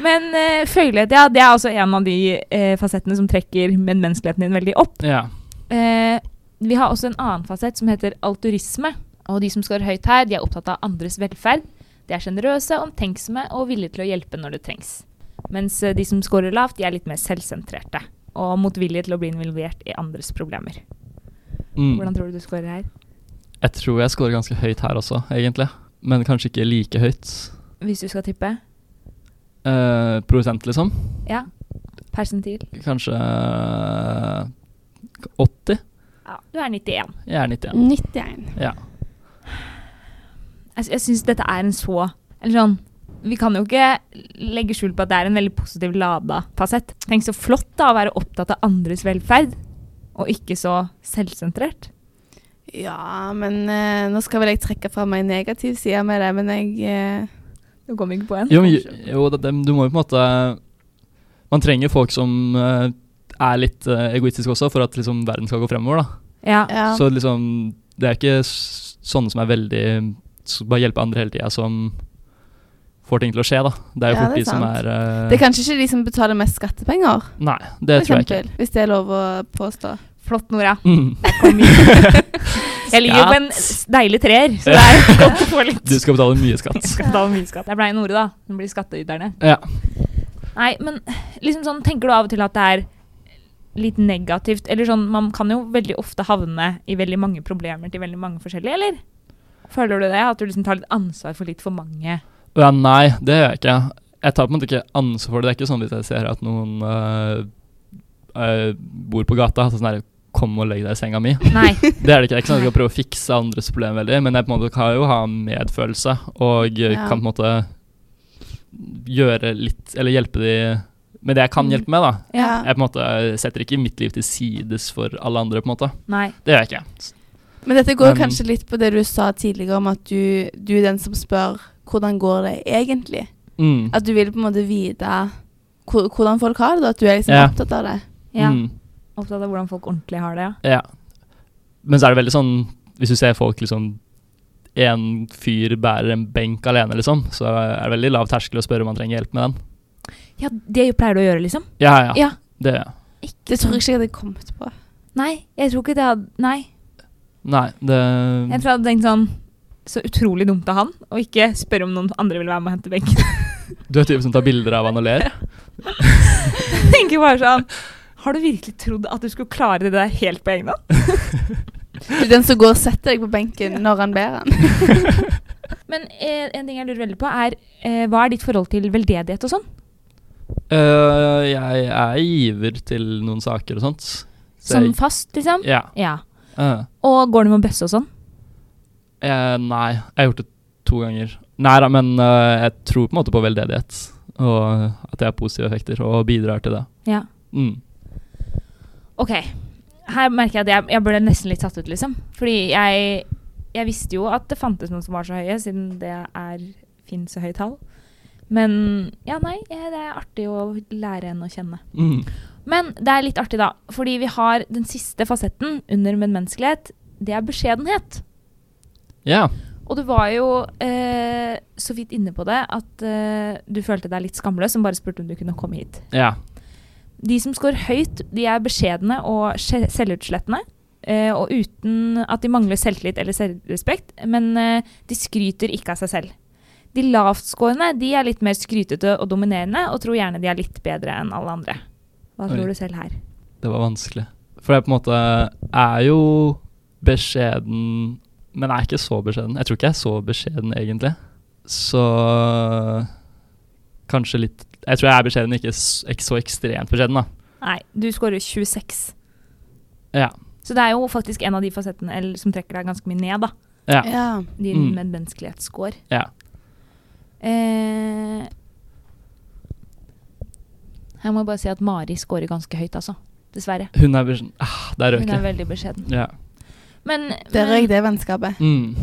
[SPEAKER 3] Men eh, følelighet, ja, det er også en av de eh, fasettene som trekker medmenneskeligheten din veldig opp.
[SPEAKER 4] ja.
[SPEAKER 3] Eh, vi har også en annen fasett som heter alturisme. Og de som skårer høyt her, de er opptatt av andres velferd. De er sjenerøse, omtenksomme og villige til å hjelpe når det trengs. Mens eh, de som skårer lavt, de er litt mer selvsentrerte. Og motvillige til å bli involvert i andres problemer.
[SPEAKER 4] Mm.
[SPEAKER 3] Hvordan tror du du skårer her?
[SPEAKER 4] Jeg tror jeg scorer ganske høyt her også, egentlig. Men kanskje ikke like høyt.
[SPEAKER 3] Hvis du skal tippe?
[SPEAKER 4] Eh, prosent, liksom.
[SPEAKER 3] Ja. Persentil?
[SPEAKER 4] Kanskje eh, 80?
[SPEAKER 3] Ja, du er 91.
[SPEAKER 4] Jeg er 91.
[SPEAKER 2] 91.
[SPEAKER 4] Ja.
[SPEAKER 3] Jeg, sy- jeg syns dette er en så Eller sånn Vi kan jo ikke legge skjul på at det er en veldig positiv lada fasett. Tenk så flott da å være opptatt av andres velferd, og ikke så selvsentrert.
[SPEAKER 2] Ja, men eh, nå skal vel jeg trekke fra meg en negativ side med det, men jeg eh,
[SPEAKER 3] Du kom ikke på en.
[SPEAKER 4] Jo, men ju- jo det, det- du må jo på en måte Man trenger folk som eh, er litt eh, egoistiske også, for at liksom, verden skal gå fremover. da.
[SPEAKER 3] Ja.
[SPEAKER 2] Ja.
[SPEAKER 4] Så liksom, det er ikke s- sånne som er veldig Som bare hjelper andre hele tida, som får ting til å skje, da. Det er jo
[SPEAKER 2] Ja,
[SPEAKER 4] fort
[SPEAKER 2] det er
[SPEAKER 4] de som
[SPEAKER 2] sant.
[SPEAKER 4] er eh,
[SPEAKER 2] Det er kanskje ikke de som betaler mest skattepenger,
[SPEAKER 4] Nei, det
[SPEAKER 2] for
[SPEAKER 4] tror jeg ikke.
[SPEAKER 2] eksempel, hvis det er lov å påstå.
[SPEAKER 3] Flott, Nora.
[SPEAKER 4] Mm. [LAUGHS]
[SPEAKER 3] Jeg ligger jo på en s- deilig treer, så det er godt å få litt
[SPEAKER 4] Du skal betale mye skatt.
[SPEAKER 3] skal betale mye skatt. Det blei Nore, da. Hun blir skattyterne.
[SPEAKER 4] [LAUGHS] Ja.
[SPEAKER 3] Nei, men liksom sånn, tenker du av og til at det er litt negativt? Eller sånn, man kan jo veldig ofte havne i veldig mange problemer til veldig mange forskjellige, eller? Føler du det? At du liksom tar litt ansvar for litt for mange?
[SPEAKER 4] Og jeg, nei, det gjør jeg ikke. Jeg tar på en måte ikke ansvar for det. Det er ikke sånn hvis jeg ser at noen øh, øh, bor på gata, så sånn her Kom og legg deg i senga mi.
[SPEAKER 3] Nei.
[SPEAKER 4] Det er det ikke. Det er ikke sånn at jeg skal prøve å fikse andres problem veldig, men jeg på en måte kan jo ha medfølelse og øh,
[SPEAKER 2] Ja.
[SPEAKER 4] kan på en måte gjøre litt Eller hjelpe de med det jeg kan hjelpe med, da.
[SPEAKER 2] Mm. Ja.
[SPEAKER 4] Jeg på en måte setter ikke mitt liv til sides for alle andre, på en måte.
[SPEAKER 3] Nei.
[SPEAKER 4] Det gjør jeg ikke.
[SPEAKER 2] Men dette går jo
[SPEAKER 4] Men-
[SPEAKER 2] kanskje litt på det du sa tidligere om at du, du er den som spør hvordan går det egentlig?
[SPEAKER 4] Mm.
[SPEAKER 2] At du vil på en måte vite hvor- hvordan folk har det, da. At du er liksom
[SPEAKER 4] Ja.
[SPEAKER 2] opptatt av det.
[SPEAKER 3] Ja.
[SPEAKER 4] Mm.
[SPEAKER 3] Opptatt av hvordan folk ordentlig har det, ja.
[SPEAKER 4] Ja. Men så er det veldig sånn Hvis du ser folk liksom En fyr bærer en benk alene, liksom, så er det veldig lav terskel å spørre om han trenger hjelp med den.
[SPEAKER 3] Ja, det pleier du å gjøre, liksom?
[SPEAKER 4] Ja, ja.
[SPEAKER 3] Ja.
[SPEAKER 4] Det gjør jeg.
[SPEAKER 2] Det tror jeg ikke jeg hadde kommet [LAUGHS] på.
[SPEAKER 3] Nei, jeg tror ikke det hadde Nei.
[SPEAKER 4] Nei, det
[SPEAKER 3] Jeg tror jeg hadde tenkt sånn Så utrolig dumt av han å ikke spørre om noen andre vil være med og hente benken. [LAUGHS]
[SPEAKER 4] Du er typen som tar bilder av han og ler?
[SPEAKER 3] tenker bare sånn Har du virkelig trodd at du skulle klare det der helt på egen hånd?
[SPEAKER 2] Du er den som går og setter deg på benken når han ber han.
[SPEAKER 3] Men eh, en ting jeg lurer veldig på, er eh, hva er ditt forhold til veldedighet og sånn?
[SPEAKER 4] Øh, jeg er giver til noen saker og sånt. Så
[SPEAKER 3] Sånn
[SPEAKER 4] jeg-
[SPEAKER 3] fast, liksom?
[SPEAKER 4] Ja.
[SPEAKER 3] Ja.
[SPEAKER 4] øh.
[SPEAKER 3] Og går du med bøsse og sånn?
[SPEAKER 4] Eh, nei, jeg har gjort det to ganger. Nei da, men øh, jeg tror på en måte på veldedighet. Og at det har positive effekter, og bidrar til det.
[SPEAKER 3] Ja.
[SPEAKER 4] Mm.
[SPEAKER 3] Ok. Her merker jeg at jeg, jeg ble nesten litt satt ut, liksom. Fordi jeg, jeg visste jo at det fantes noen som var så høye, siden det er finnes så høye tall. Men ja, nei, eh, det er artig å lære henne å kjenne.
[SPEAKER 4] Mm.
[SPEAKER 3] Men det er litt artig, da. Fordi vi har den siste fasetten under medmenneskelighet. Det er beskjedenhet.
[SPEAKER 4] Ja.
[SPEAKER 3] Og du var jo eh, så vidt inne på det at eh, du følte deg litt skamløs som bare spurte om du kunne komme hit.
[SPEAKER 4] ja.
[SPEAKER 3] De som scorer høyt, de er beskjedne og sje- selvutslettende. eh, og uten at de mangler selvtillit eller selvrespekt. Men eh, de skryter ikke av seg selv. De lavtskårende de er litt mer skrytete og dominerende og tror gjerne de er litt bedre enn alle andre. Hva
[SPEAKER 4] Oi.
[SPEAKER 3] tror du selv her?
[SPEAKER 4] Det var vanskelig. For jeg på en måte er jo beskjeden, men er ikke så beskjeden. Jeg tror ikke jeg er så beskjeden, egentlig. Så kanskje litt Jeg tror jeg er beskjeden, ikke s- ek- så ekstremt beskjeden, da.
[SPEAKER 3] Nei, du scorer 26.
[SPEAKER 4] Ja.
[SPEAKER 3] Så det er jo faktisk en av de fasettene eller, som trekker deg ganske mye ned, da.
[SPEAKER 4] Ja.
[SPEAKER 2] Ja.
[SPEAKER 3] Din
[SPEAKER 4] Mm.
[SPEAKER 3] medmenneskelighetsscore.
[SPEAKER 4] ja.
[SPEAKER 3] Eh, jeg må bare si at Mari scorer ganske høyt, altså. Dessverre.
[SPEAKER 4] Hun er beskjeden. Ah, der
[SPEAKER 3] Hun
[SPEAKER 4] røk
[SPEAKER 3] er
[SPEAKER 4] jeg.
[SPEAKER 3] veldig beskjeden.
[SPEAKER 4] Ja.
[SPEAKER 3] Men,
[SPEAKER 2] Der
[SPEAKER 3] men,
[SPEAKER 2] røyk det vennskapet.
[SPEAKER 4] Mm.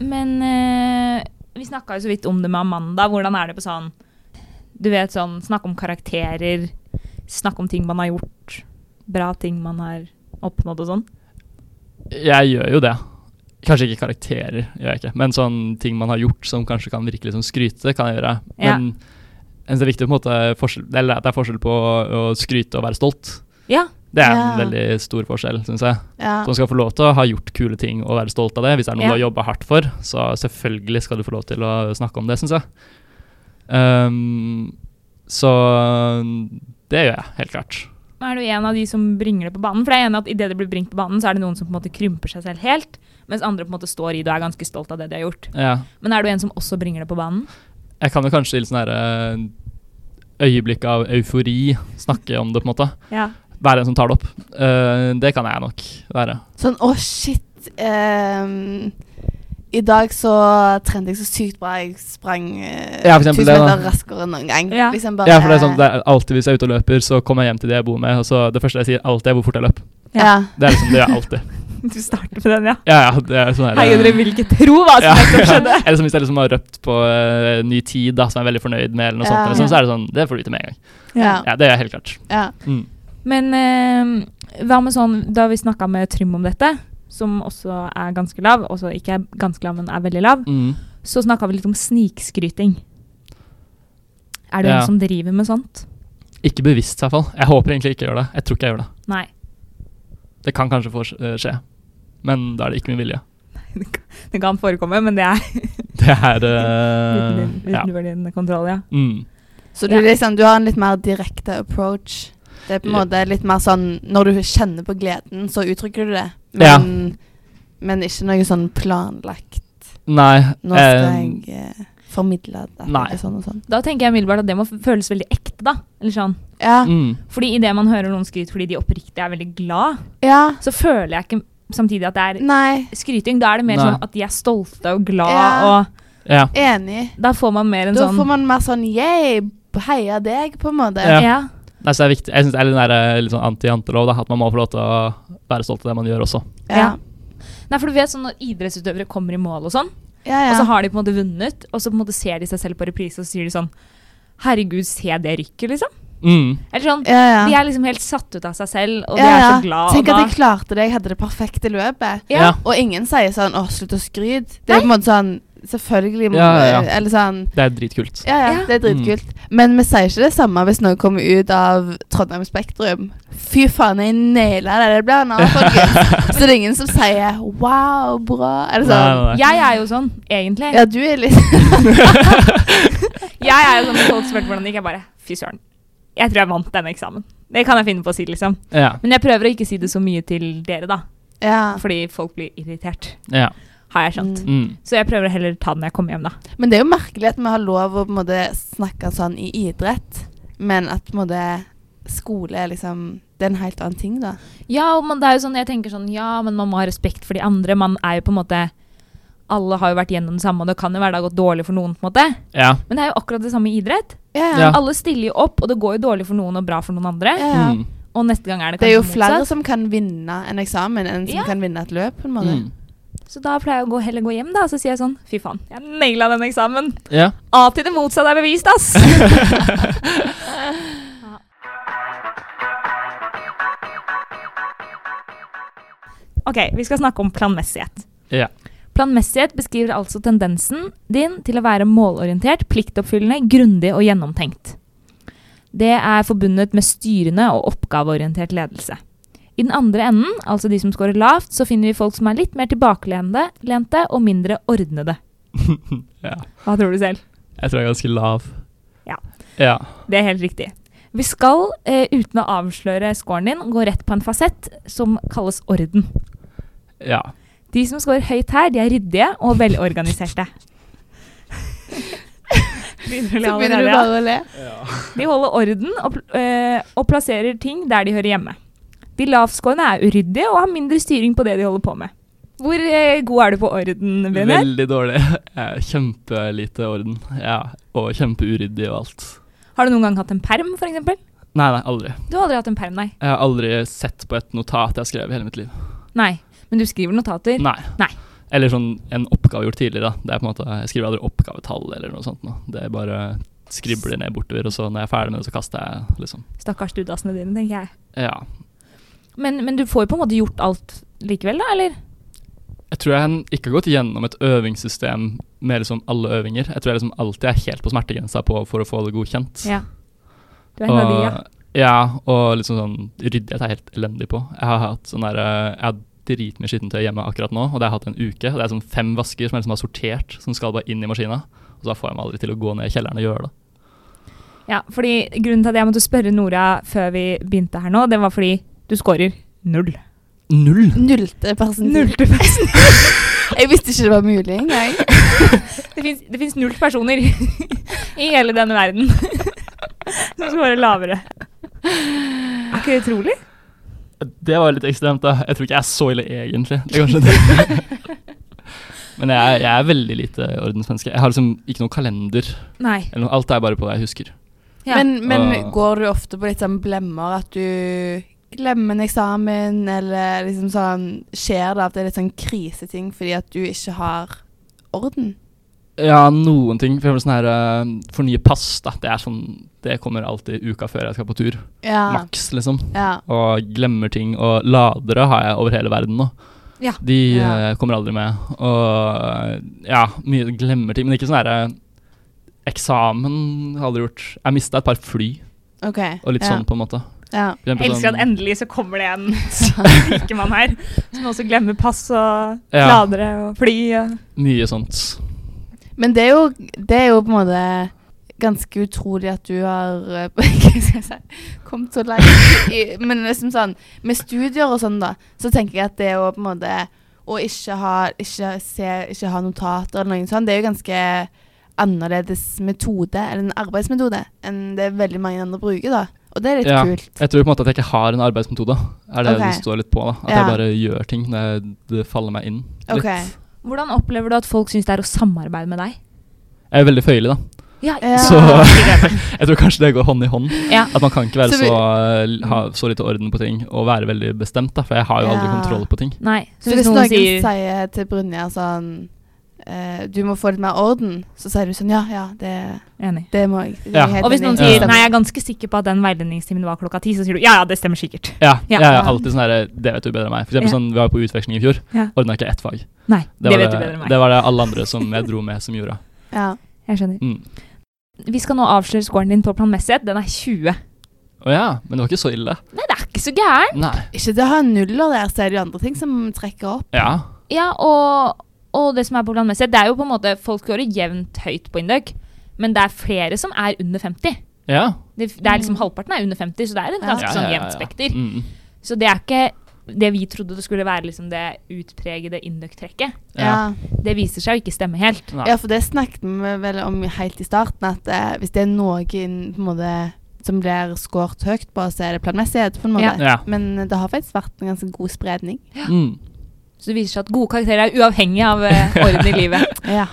[SPEAKER 3] men eh, vi snakka jo så vidt om det med Amanda. Hvordan er det på sånn Du vet sånn Snakke om karakterer. Snakke om ting man har gjort. Bra ting man har oppnådd og sånn.
[SPEAKER 4] Jeg gjør jo det. Kanskje ikke karakterer, gjør jeg ikke. men sånn ting man har gjort som kanskje kan virke litt som skryte, kan jeg gjøre.
[SPEAKER 3] Ja.
[SPEAKER 4] Men en så viktig på en måte forskjell, eller at det er forskjell på å å skryte og være stolt.
[SPEAKER 3] Ja.
[SPEAKER 4] Det er en
[SPEAKER 2] Ja.
[SPEAKER 4] veldig stor forskjell, syns jeg.
[SPEAKER 2] Ja.
[SPEAKER 4] Så man skal få lov til å ha gjort kule ting og være stolt av det. Hvis det er noe
[SPEAKER 3] Ja.
[SPEAKER 4] du har jobba hardt for, så selvfølgelig skal du få lov til å snakke om det, syns jeg. Ehm, så det gjør jeg, helt klart.
[SPEAKER 3] Men Er du en av de som bringer det på banen? For jeg er enig i at idet det blir bringt på banen, så er det noen som på en måte krymper seg selv helt, mens andre på en måte står i det og er ganske stolt av det de har gjort.
[SPEAKER 4] Ja.
[SPEAKER 3] Men er du en som også bringer det på banen?
[SPEAKER 4] Jeg kan jo kanskje i litt sånn herre øyeblikk av eufori snakke om det, på en måte.
[SPEAKER 3] Ja.
[SPEAKER 4] Være en som tar det opp. Ehm, det kan jeg nok være.
[SPEAKER 2] Sånn å, shit. ehm, I dag så trente jeg så sykt bra. Jeg sprang eh,
[SPEAKER 4] Ja, for
[SPEAKER 2] 1000
[SPEAKER 4] eksempel det, da.
[SPEAKER 2] meter raskere enn noen gang.
[SPEAKER 3] Ja.
[SPEAKER 2] Liksom bare
[SPEAKER 4] Ja, for det er sånn, det er alltid Hvis jeg er ute og løper, så kommer jeg hjem til de jeg bor med, og så det første jeg sier alltid, er hvor fort jeg løp.
[SPEAKER 2] ja.
[SPEAKER 4] Det er liksom det gjør jeg
[SPEAKER 3] [LAUGHS]
[SPEAKER 4] alltid.
[SPEAKER 3] Du starter med den, ja.
[SPEAKER 4] Ja, ja, det er sånn her,
[SPEAKER 3] Hei, dere vil ikke tro hva som
[SPEAKER 4] Ja.
[SPEAKER 3] nettopp skjedde.
[SPEAKER 4] [LAUGHS] Eller som hvis jeg liksom har røpt på eh, ny tid, da, som jeg er veldig fornøyd med, eller noe sånt,
[SPEAKER 2] Ja.
[SPEAKER 4] eller sånn, så er det sånn Det får du vite med en gang.
[SPEAKER 2] Ja.
[SPEAKER 4] Ja, Det er helt klart.
[SPEAKER 2] ja.
[SPEAKER 4] Mm.
[SPEAKER 3] Men eh, hva med sånn, da vi snakka med Trym om dette, som også er ganske lav, også ikke er ganske lav, men er veldig lav,
[SPEAKER 4] Mm.
[SPEAKER 3] så snakka vi litt om snikskryting. Er det
[SPEAKER 4] Ja.
[SPEAKER 3] hun som driver med sånt?
[SPEAKER 4] Ikke bevisst, i hvert fall. Jeg håper egentlig ikke jeg gjør det. Jeg tror ikke jeg gjør det.
[SPEAKER 3] Nei.
[SPEAKER 4] Det kan kanskje få eh, skje, men da er det ikke min vilje. [LAUGHS]
[SPEAKER 3] Det kan forekomme, men det er
[SPEAKER 4] Det er eh,
[SPEAKER 3] uten
[SPEAKER 4] Ja.
[SPEAKER 3] utenverdierende kontroll, ja.
[SPEAKER 4] Mm.
[SPEAKER 2] Så du,
[SPEAKER 3] Ja.
[SPEAKER 2] liksom, du har en litt mer direkte approach. Det er på en
[SPEAKER 4] Ja.
[SPEAKER 2] måte litt mer sånn Når du kjenner på gleden, så uttrykker du det.
[SPEAKER 4] Ja.
[SPEAKER 2] Men, men ikke noe sånn planlagt.
[SPEAKER 4] Nei.
[SPEAKER 2] Nå skal
[SPEAKER 4] eh,
[SPEAKER 2] jeg eh, formidle det.
[SPEAKER 4] nei.
[SPEAKER 2] eller Sånn og sånn.
[SPEAKER 3] Da tenker jeg umiddelbart at det må f- føles veldig ekte, da. Eller sånn.
[SPEAKER 2] Ja.
[SPEAKER 4] mm,
[SPEAKER 3] Fordi idet man hører noen skryte fordi de oppriktig er veldig glad,
[SPEAKER 2] ja.
[SPEAKER 3] så føler jeg ikke samtidig at det er
[SPEAKER 2] Nei.
[SPEAKER 3] skryting. Da er det mer
[SPEAKER 4] Nei.
[SPEAKER 3] sånn at de er stolte og glad,
[SPEAKER 2] Ja.
[SPEAKER 3] og
[SPEAKER 4] ja.
[SPEAKER 2] Enig.
[SPEAKER 3] da får man mer en
[SPEAKER 2] Da
[SPEAKER 3] sånn
[SPEAKER 2] får man mer sånn yeah, heia deg, på en måte.
[SPEAKER 4] Ja.
[SPEAKER 3] ja.
[SPEAKER 4] Nei, så det er viktig. Jeg synes det er litt, den der, eh, litt sånn anti-jantelov, da, at man må få lov til å være stolt av det man gjør også.
[SPEAKER 2] Ja.
[SPEAKER 3] Nei, for du vet sånn når idrettsutøvere kommer i mål og sånn,
[SPEAKER 2] Ja,
[SPEAKER 3] og
[SPEAKER 2] ja.
[SPEAKER 3] så har de på en måte vunnet, og så på en måte ser de seg selv på reprise, og så sier de sånn Herregud, se det rykket, liksom.
[SPEAKER 4] Mm.
[SPEAKER 3] Eller sånn.
[SPEAKER 2] ja, ja.
[SPEAKER 3] De er liksom helt satt ut av seg selv, og de
[SPEAKER 2] Ja,
[SPEAKER 3] er
[SPEAKER 2] ja.
[SPEAKER 3] så glad.
[SPEAKER 2] Tenk
[SPEAKER 3] og
[SPEAKER 2] at
[SPEAKER 3] da-
[SPEAKER 2] jeg klarte det, jeg hadde det perfekte løpet.
[SPEAKER 3] ja.
[SPEAKER 4] Ja.
[SPEAKER 2] Og ingen sier sånn 'Å, slutt å skryte'. Det er på en måte sånn Selvfølgelig må
[SPEAKER 4] Ja, ja, ja.
[SPEAKER 2] Eller sånn
[SPEAKER 4] Det er dritkult.
[SPEAKER 2] Ja, ja,
[SPEAKER 3] Ja.
[SPEAKER 2] det er dritkult. Men vi sier ikke det samme hvis noe kommer ut av Trondheim Spektrum. Fy faen, jeg naila det. Det ble en
[SPEAKER 3] [LAUGHS]
[SPEAKER 2] annen, folkens. Så det er ingen som sier 'wow, bra'. Er det sånn?
[SPEAKER 4] Nei, nei, nei.
[SPEAKER 3] Jeg er jo sånn, egentlig.
[SPEAKER 2] Ja, du er litt [LAUGHS]
[SPEAKER 3] Jeg er jo sånn når folk spurte hvordan det gikk, jeg bare Fy søren. Jeg tror jeg vant denne eksamen. Det kan jeg finne på å si, liksom.
[SPEAKER 4] [LAUGHS] Ja.
[SPEAKER 3] Men jeg prøver å ikke si det så mye til dere, da.
[SPEAKER 2] Ja.
[SPEAKER 3] Fordi folk blir irritert,
[SPEAKER 4] ja.
[SPEAKER 3] har jeg skjønt.
[SPEAKER 2] Mm.
[SPEAKER 4] Mm.
[SPEAKER 3] Så jeg prøver å heller ta det når jeg kommer hjem, da.
[SPEAKER 2] Men det er jo merkelig at vi har lov å på en måte snakke sånn i idrett, men at på en måte skole er liksom Det er en helt annen ting, da.
[SPEAKER 3] Ja, og man, det er jo sånn, jeg tenker sånn Ja, men man må ha respekt for de andre. Man er jo på en måte Alle har jo vært gjennom det samme, og det kan jo være det har gått dårlig for noen, på en måte.
[SPEAKER 4] ja.
[SPEAKER 3] Men det er jo akkurat det samme i idrett.
[SPEAKER 2] Ja.
[SPEAKER 4] Ja.
[SPEAKER 3] Alle stiller jo opp, og det går jo dårlig for noen og bra for noen andre.
[SPEAKER 2] Ja, ja.
[SPEAKER 4] Mm.
[SPEAKER 3] Og neste gang er det
[SPEAKER 2] Det er
[SPEAKER 3] kanskje
[SPEAKER 2] jo flere
[SPEAKER 3] motsatt.
[SPEAKER 2] som kan vinne en eksamen enn som
[SPEAKER 3] Ja.
[SPEAKER 2] kan vinne et løp. på en måte.
[SPEAKER 4] Mm.
[SPEAKER 3] Så da pleier jeg å gå, heller gå hjem, da, og så sier jeg sånn Fy faen, jeg naila den eksamen.
[SPEAKER 4] Ja. [LAUGHS]
[SPEAKER 3] A til det motsatte er bevist, ass! [LAUGHS] ok, vi skal snakke om planmessighet.
[SPEAKER 4] Ja.
[SPEAKER 3] Planmessighet beskriver altså tendensen din til å være målorientert, pliktoppfyllende, grundig og gjennomtenkt. Det er forbundet med styrende og oppgaveorientert ledelse. I den andre enden, altså de som scorer lavt, så finner vi folk som er litt mer tilbakelente lente og mindre ordnede.
[SPEAKER 4] ja.
[SPEAKER 3] Hva tror du selv?
[SPEAKER 4] Jeg tror jeg er ganske lav.
[SPEAKER 3] Ja.
[SPEAKER 4] Ja.
[SPEAKER 3] Det er helt riktig. Vi skal, eh, uten å avsløre scoren din, gå rett på en fasett som kalles orden.
[SPEAKER 4] ja.
[SPEAKER 3] De som scorer høyt her, de er ryddige og velorganiserte. [LAUGHS] Begynner å le
[SPEAKER 2] Så begynner
[SPEAKER 3] allerede, ja.
[SPEAKER 2] du bare å le.
[SPEAKER 3] De holder orden og, pl- eh, og plasserer ting der de hører hjemme. De lavtskårende er uryddige og har mindre styring på det de holder på med. Hvor eh, god er du på orden, Brenner?
[SPEAKER 4] Veldig dårlig. [LAUGHS] Jeg er Kjempelite orden. Ja. Og kjempeuryddig og alt.
[SPEAKER 3] Har du noen gang hatt en perm, f.eks.?
[SPEAKER 4] Nei, nei, aldri.
[SPEAKER 3] Du har aldri hatt en perm, nei.
[SPEAKER 4] Jeg har aldri sett på et notat jeg har skrevet i hele mitt liv.
[SPEAKER 3] Nei, Men du skriver notater?
[SPEAKER 4] Nei.
[SPEAKER 3] Nei.
[SPEAKER 4] Eller sånn en oppgave gjort tidligere. da. Det er på en måte, Jeg skriver aldri oppgavetall eller noe sånt. nå. Det er bare skribler ned bortover, og så når jeg er ferdig med det, så kaster jeg, liksom.
[SPEAKER 3] Stakkars studiassene dine, tenker jeg.
[SPEAKER 4] Ja.
[SPEAKER 3] Men, men du får jo på en måte gjort alt likevel, da? Eller?
[SPEAKER 4] Jeg tror jeg ikke har gått gjennom et øvingssystem med liksom alle øvinger. Jeg tror jeg liksom alltid er helt på smertegrensa på for å få det godkjent.
[SPEAKER 3] Ja. Du er en av de, ja.
[SPEAKER 4] ja, og liksom sånn ryddighet er jeg helt elendig på. Jeg har hatt sånn der, eh, jeg har dritmye skittentøy hjemme akkurat nå, og det har jeg hatt en uke. Og det er sånn fem vasker som jeg liksom har sortert, som skal bare inn i maskina. Og så da får jeg meg aldri til å gå ned i kjelleren og gjøre det.
[SPEAKER 3] ja. Fordi grunnen til at jeg måtte spørre Nora før vi begynte her nå, det var fordi du scorer null.
[SPEAKER 4] Null!
[SPEAKER 2] Nullte persentil.
[SPEAKER 3] [LAUGHS] Nullte person.
[SPEAKER 2] Jeg visste ikke det var mulig engang.
[SPEAKER 3] Det fins- Det fins null personer i hele denne verden [LAUGHS] som scorer lavere. Er ikke det utrolig?
[SPEAKER 4] Det var litt ekstremt, da. Jeg tror ikke jeg er så ille egentlig. Det er kanskje det.
[SPEAKER 3] [LAUGHS]
[SPEAKER 4] Men jeg er, jeg er veldig lite ordensmenneske. Jeg har liksom ikke noen kalender.
[SPEAKER 3] Nei.
[SPEAKER 4] Eller noe, alt er bare på hva jeg husker.
[SPEAKER 3] Ja.
[SPEAKER 2] Men, men
[SPEAKER 4] Ah.
[SPEAKER 2] går du ofte på litt sånn blemmer at du glemmer en eksamen, eller liksom sånn Skjer det at det er litt sånn kriseting fordi at du ikke har orden?
[SPEAKER 4] Ja, noen ting. For eksempel sånn her eh, fornye pass, da. Det er sånn Det kommer alltid uka før jeg skal på tur.
[SPEAKER 2] Ja.
[SPEAKER 4] Maks, liksom.
[SPEAKER 2] ja.
[SPEAKER 4] Og glemmer ting. Og ladere har jeg over hele verden nå.
[SPEAKER 3] Ja.
[SPEAKER 4] De
[SPEAKER 2] Ja.
[SPEAKER 4] eh, kommer aldri med. Og ja, mye glemmer ting. Men ikke sånn herre Eksamen har jeg aldri gjort. Jeg mista et par fly
[SPEAKER 2] OK.
[SPEAKER 4] og litt
[SPEAKER 2] ja.
[SPEAKER 4] sånn, på en måte.
[SPEAKER 2] Ja.
[SPEAKER 4] For eksempel
[SPEAKER 3] Elsker
[SPEAKER 4] sånn-
[SPEAKER 3] at endelig så kommer det [LAUGHS] en rikemann her, som også glemmer pass og
[SPEAKER 4] Ja.
[SPEAKER 3] ladere og fly. Og.
[SPEAKER 4] Mye sånt.
[SPEAKER 2] Men det er, jo, det er jo på en måte ganske utrolig at du har eh, [LAUGHS] Hva skal jeg si kommet så langt. I, men liksom sånn med studier og sånn, da, så tenker jeg at det å på en måte å ikke ha, ikke se, ikke ha notater eller noe sånt, det er jo ganske annerledes metode, eller en arbeidsmetode, enn det veldig mange andre bruker, da. Og det er litt
[SPEAKER 4] Ja.
[SPEAKER 2] kult.
[SPEAKER 4] Jeg tror på en måte at jeg ikke har en arbeidsmetode. Er det
[SPEAKER 2] Ok.
[SPEAKER 4] det står litt på, da. At
[SPEAKER 2] Ja.
[SPEAKER 4] jeg bare gjør ting når jeg, det faller meg inn. Litt.
[SPEAKER 2] Ok.
[SPEAKER 3] Hvordan opplever du at folk syns det er å samarbeide med deg?
[SPEAKER 4] Jeg er veldig føyelig, da.
[SPEAKER 3] Ja,
[SPEAKER 2] Ja.
[SPEAKER 4] Så jeg tror kanskje det går hånd i hånd.
[SPEAKER 3] [LAUGHS] Ja.
[SPEAKER 4] At man kan ikke være
[SPEAKER 2] Så
[SPEAKER 4] så,
[SPEAKER 2] vi-
[SPEAKER 4] eh, ha så lite orden på ting og være veldig bestemt, da. For jeg har jo aldri
[SPEAKER 2] Ja.
[SPEAKER 4] kontroll på ting.
[SPEAKER 3] Nei.
[SPEAKER 2] Så hvis noen sier til Brynjar sånn eh, Du må få litt mer orden, så sier du sånn Ja, ja, det,
[SPEAKER 3] Enig.
[SPEAKER 2] det må jeg. Det er
[SPEAKER 4] Ja.
[SPEAKER 2] jeg helt
[SPEAKER 3] Og hvis
[SPEAKER 2] enig
[SPEAKER 3] noen
[SPEAKER 2] i.
[SPEAKER 3] sier nei, jeg er ganske sikker på at den veiledningstimen var klokka ti, så sier du ja, ja, det stemmer sikkert.
[SPEAKER 4] Ja,
[SPEAKER 3] Ja.
[SPEAKER 4] jeg er alltid sånn her Det vet du bedre enn meg. For eksempel
[SPEAKER 3] Ja.
[SPEAKER 4] sånn, vi var på utveksling i fjor.
[SPEAKER 3] Ja.
[SPEAKER 4] Ordna ikke ett fag.
[SPEAKER 3] Nei, det,
[SPEAKER 4] var
[SPEAKER 3] vet du bedre enn meg.
[SPEAKER 4] det var det alle andre som jeg dro med, som gjorde.
[SPEAKER 2] ja.
[SPEAKER 3] Jeg skjønner.
[SPEAKER 4] Mm.
[SPEAKER 3] Vi skal nå avsløre scoren din på planmessighet. Den er 20.
[SPEAKER 4] Å ja, men det var ikke så ille.
[SPEAKER 3] Nei, det er ikke så gæren.
[SPEAKER 4] Nei.
[SPEAKER 2] Ikke det å ha nuller der, så er det jo andre ting som trekker opp.
[SPEAKER 4] Ja.
[SPEAKER 3] Ja, og, og det som er på planmessighet, det er jo på en måte Folk scorer jevnt høyt på Induc, men det er flere som er under 50.
[SPEAKER 4] Ja.
[SPEAKER 3] Det, det er liksom
[SPEAKER 2] Mm.
[SPEAKER 3] Halvparten er under 50, så det er et
[SPEAKER 2] Ja.
[SPEAKER 3] ganske
[SPEAKER 4] ja,
[SPEAKER 3] sånn
[SPEAKER 4] ja, ja,
[SPEAKER 3] jevnt
[SPEAKER 4] ja.
[SPEAKER 3] spekter.
[SPEAKER 4] Mm.
[SPEAKER 3] Så det er ikke det vi trodde det skulle være liksom det utpregede Induc-trekket.
[SPEAKER 4] Ja.
[SPEAKER 2] Ja.
[SPEAKER 3] Det viser seg å ikke stemme helt.
[SPEAKER 4] Nei.
[SPEAKER 2] ja, for det snakket vi vel om helt i starten, at eh, hvis det er noe inn- på en måte, som blir skåret høyt på, så er det planmessighet, på en måte.
[SPEAKER 3] Ja.
[SPEAKER 4] Ja.
[SPEAKER 2] Men det har faktisk vært en ganske god spredning.
[SPEAKER 4] Mm.
[SPEAKER 3] Så det viser seg at gode karakterer er uavhengig av [LAUGHS] eh, orden i livet.
[SPEAKER 2] Ja.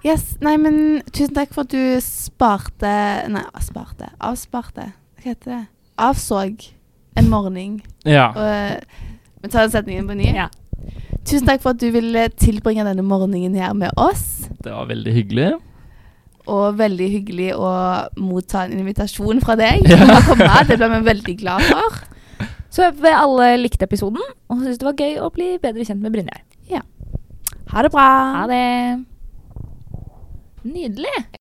[SPEAKER 2] Yes, nei, men tusen takk for at du sparte Nei, sparte. Avsparte. Hva heter det? Avsåg en morgen.
[SPEAKER 4] ja.
[SPEAKER 2] Og eh, vi tar setningen på ny.
[SPEAKER 3] Ja.
[SPEAKER 2] Tusen takk for at du ville tilbringe denne morgenen her med oss.
[SPEAKER 4] Det var veldig hyggelig.
[SPEAKER 2] Og veldig hyggelig å motta en invitasjon fra deg.
[SPEAKER 4] Ja.
[SPEAKER 2] Om å komme. Det ble vi veldig glad for.
[SPEAKER 3] Så håper vi alle likte episoden og syntes det var gøy å bli bedre kjent med Brynjar.
[SPEAKER 2] Ha det bra.
[SPEAKER 3] Ha det. Nydelig.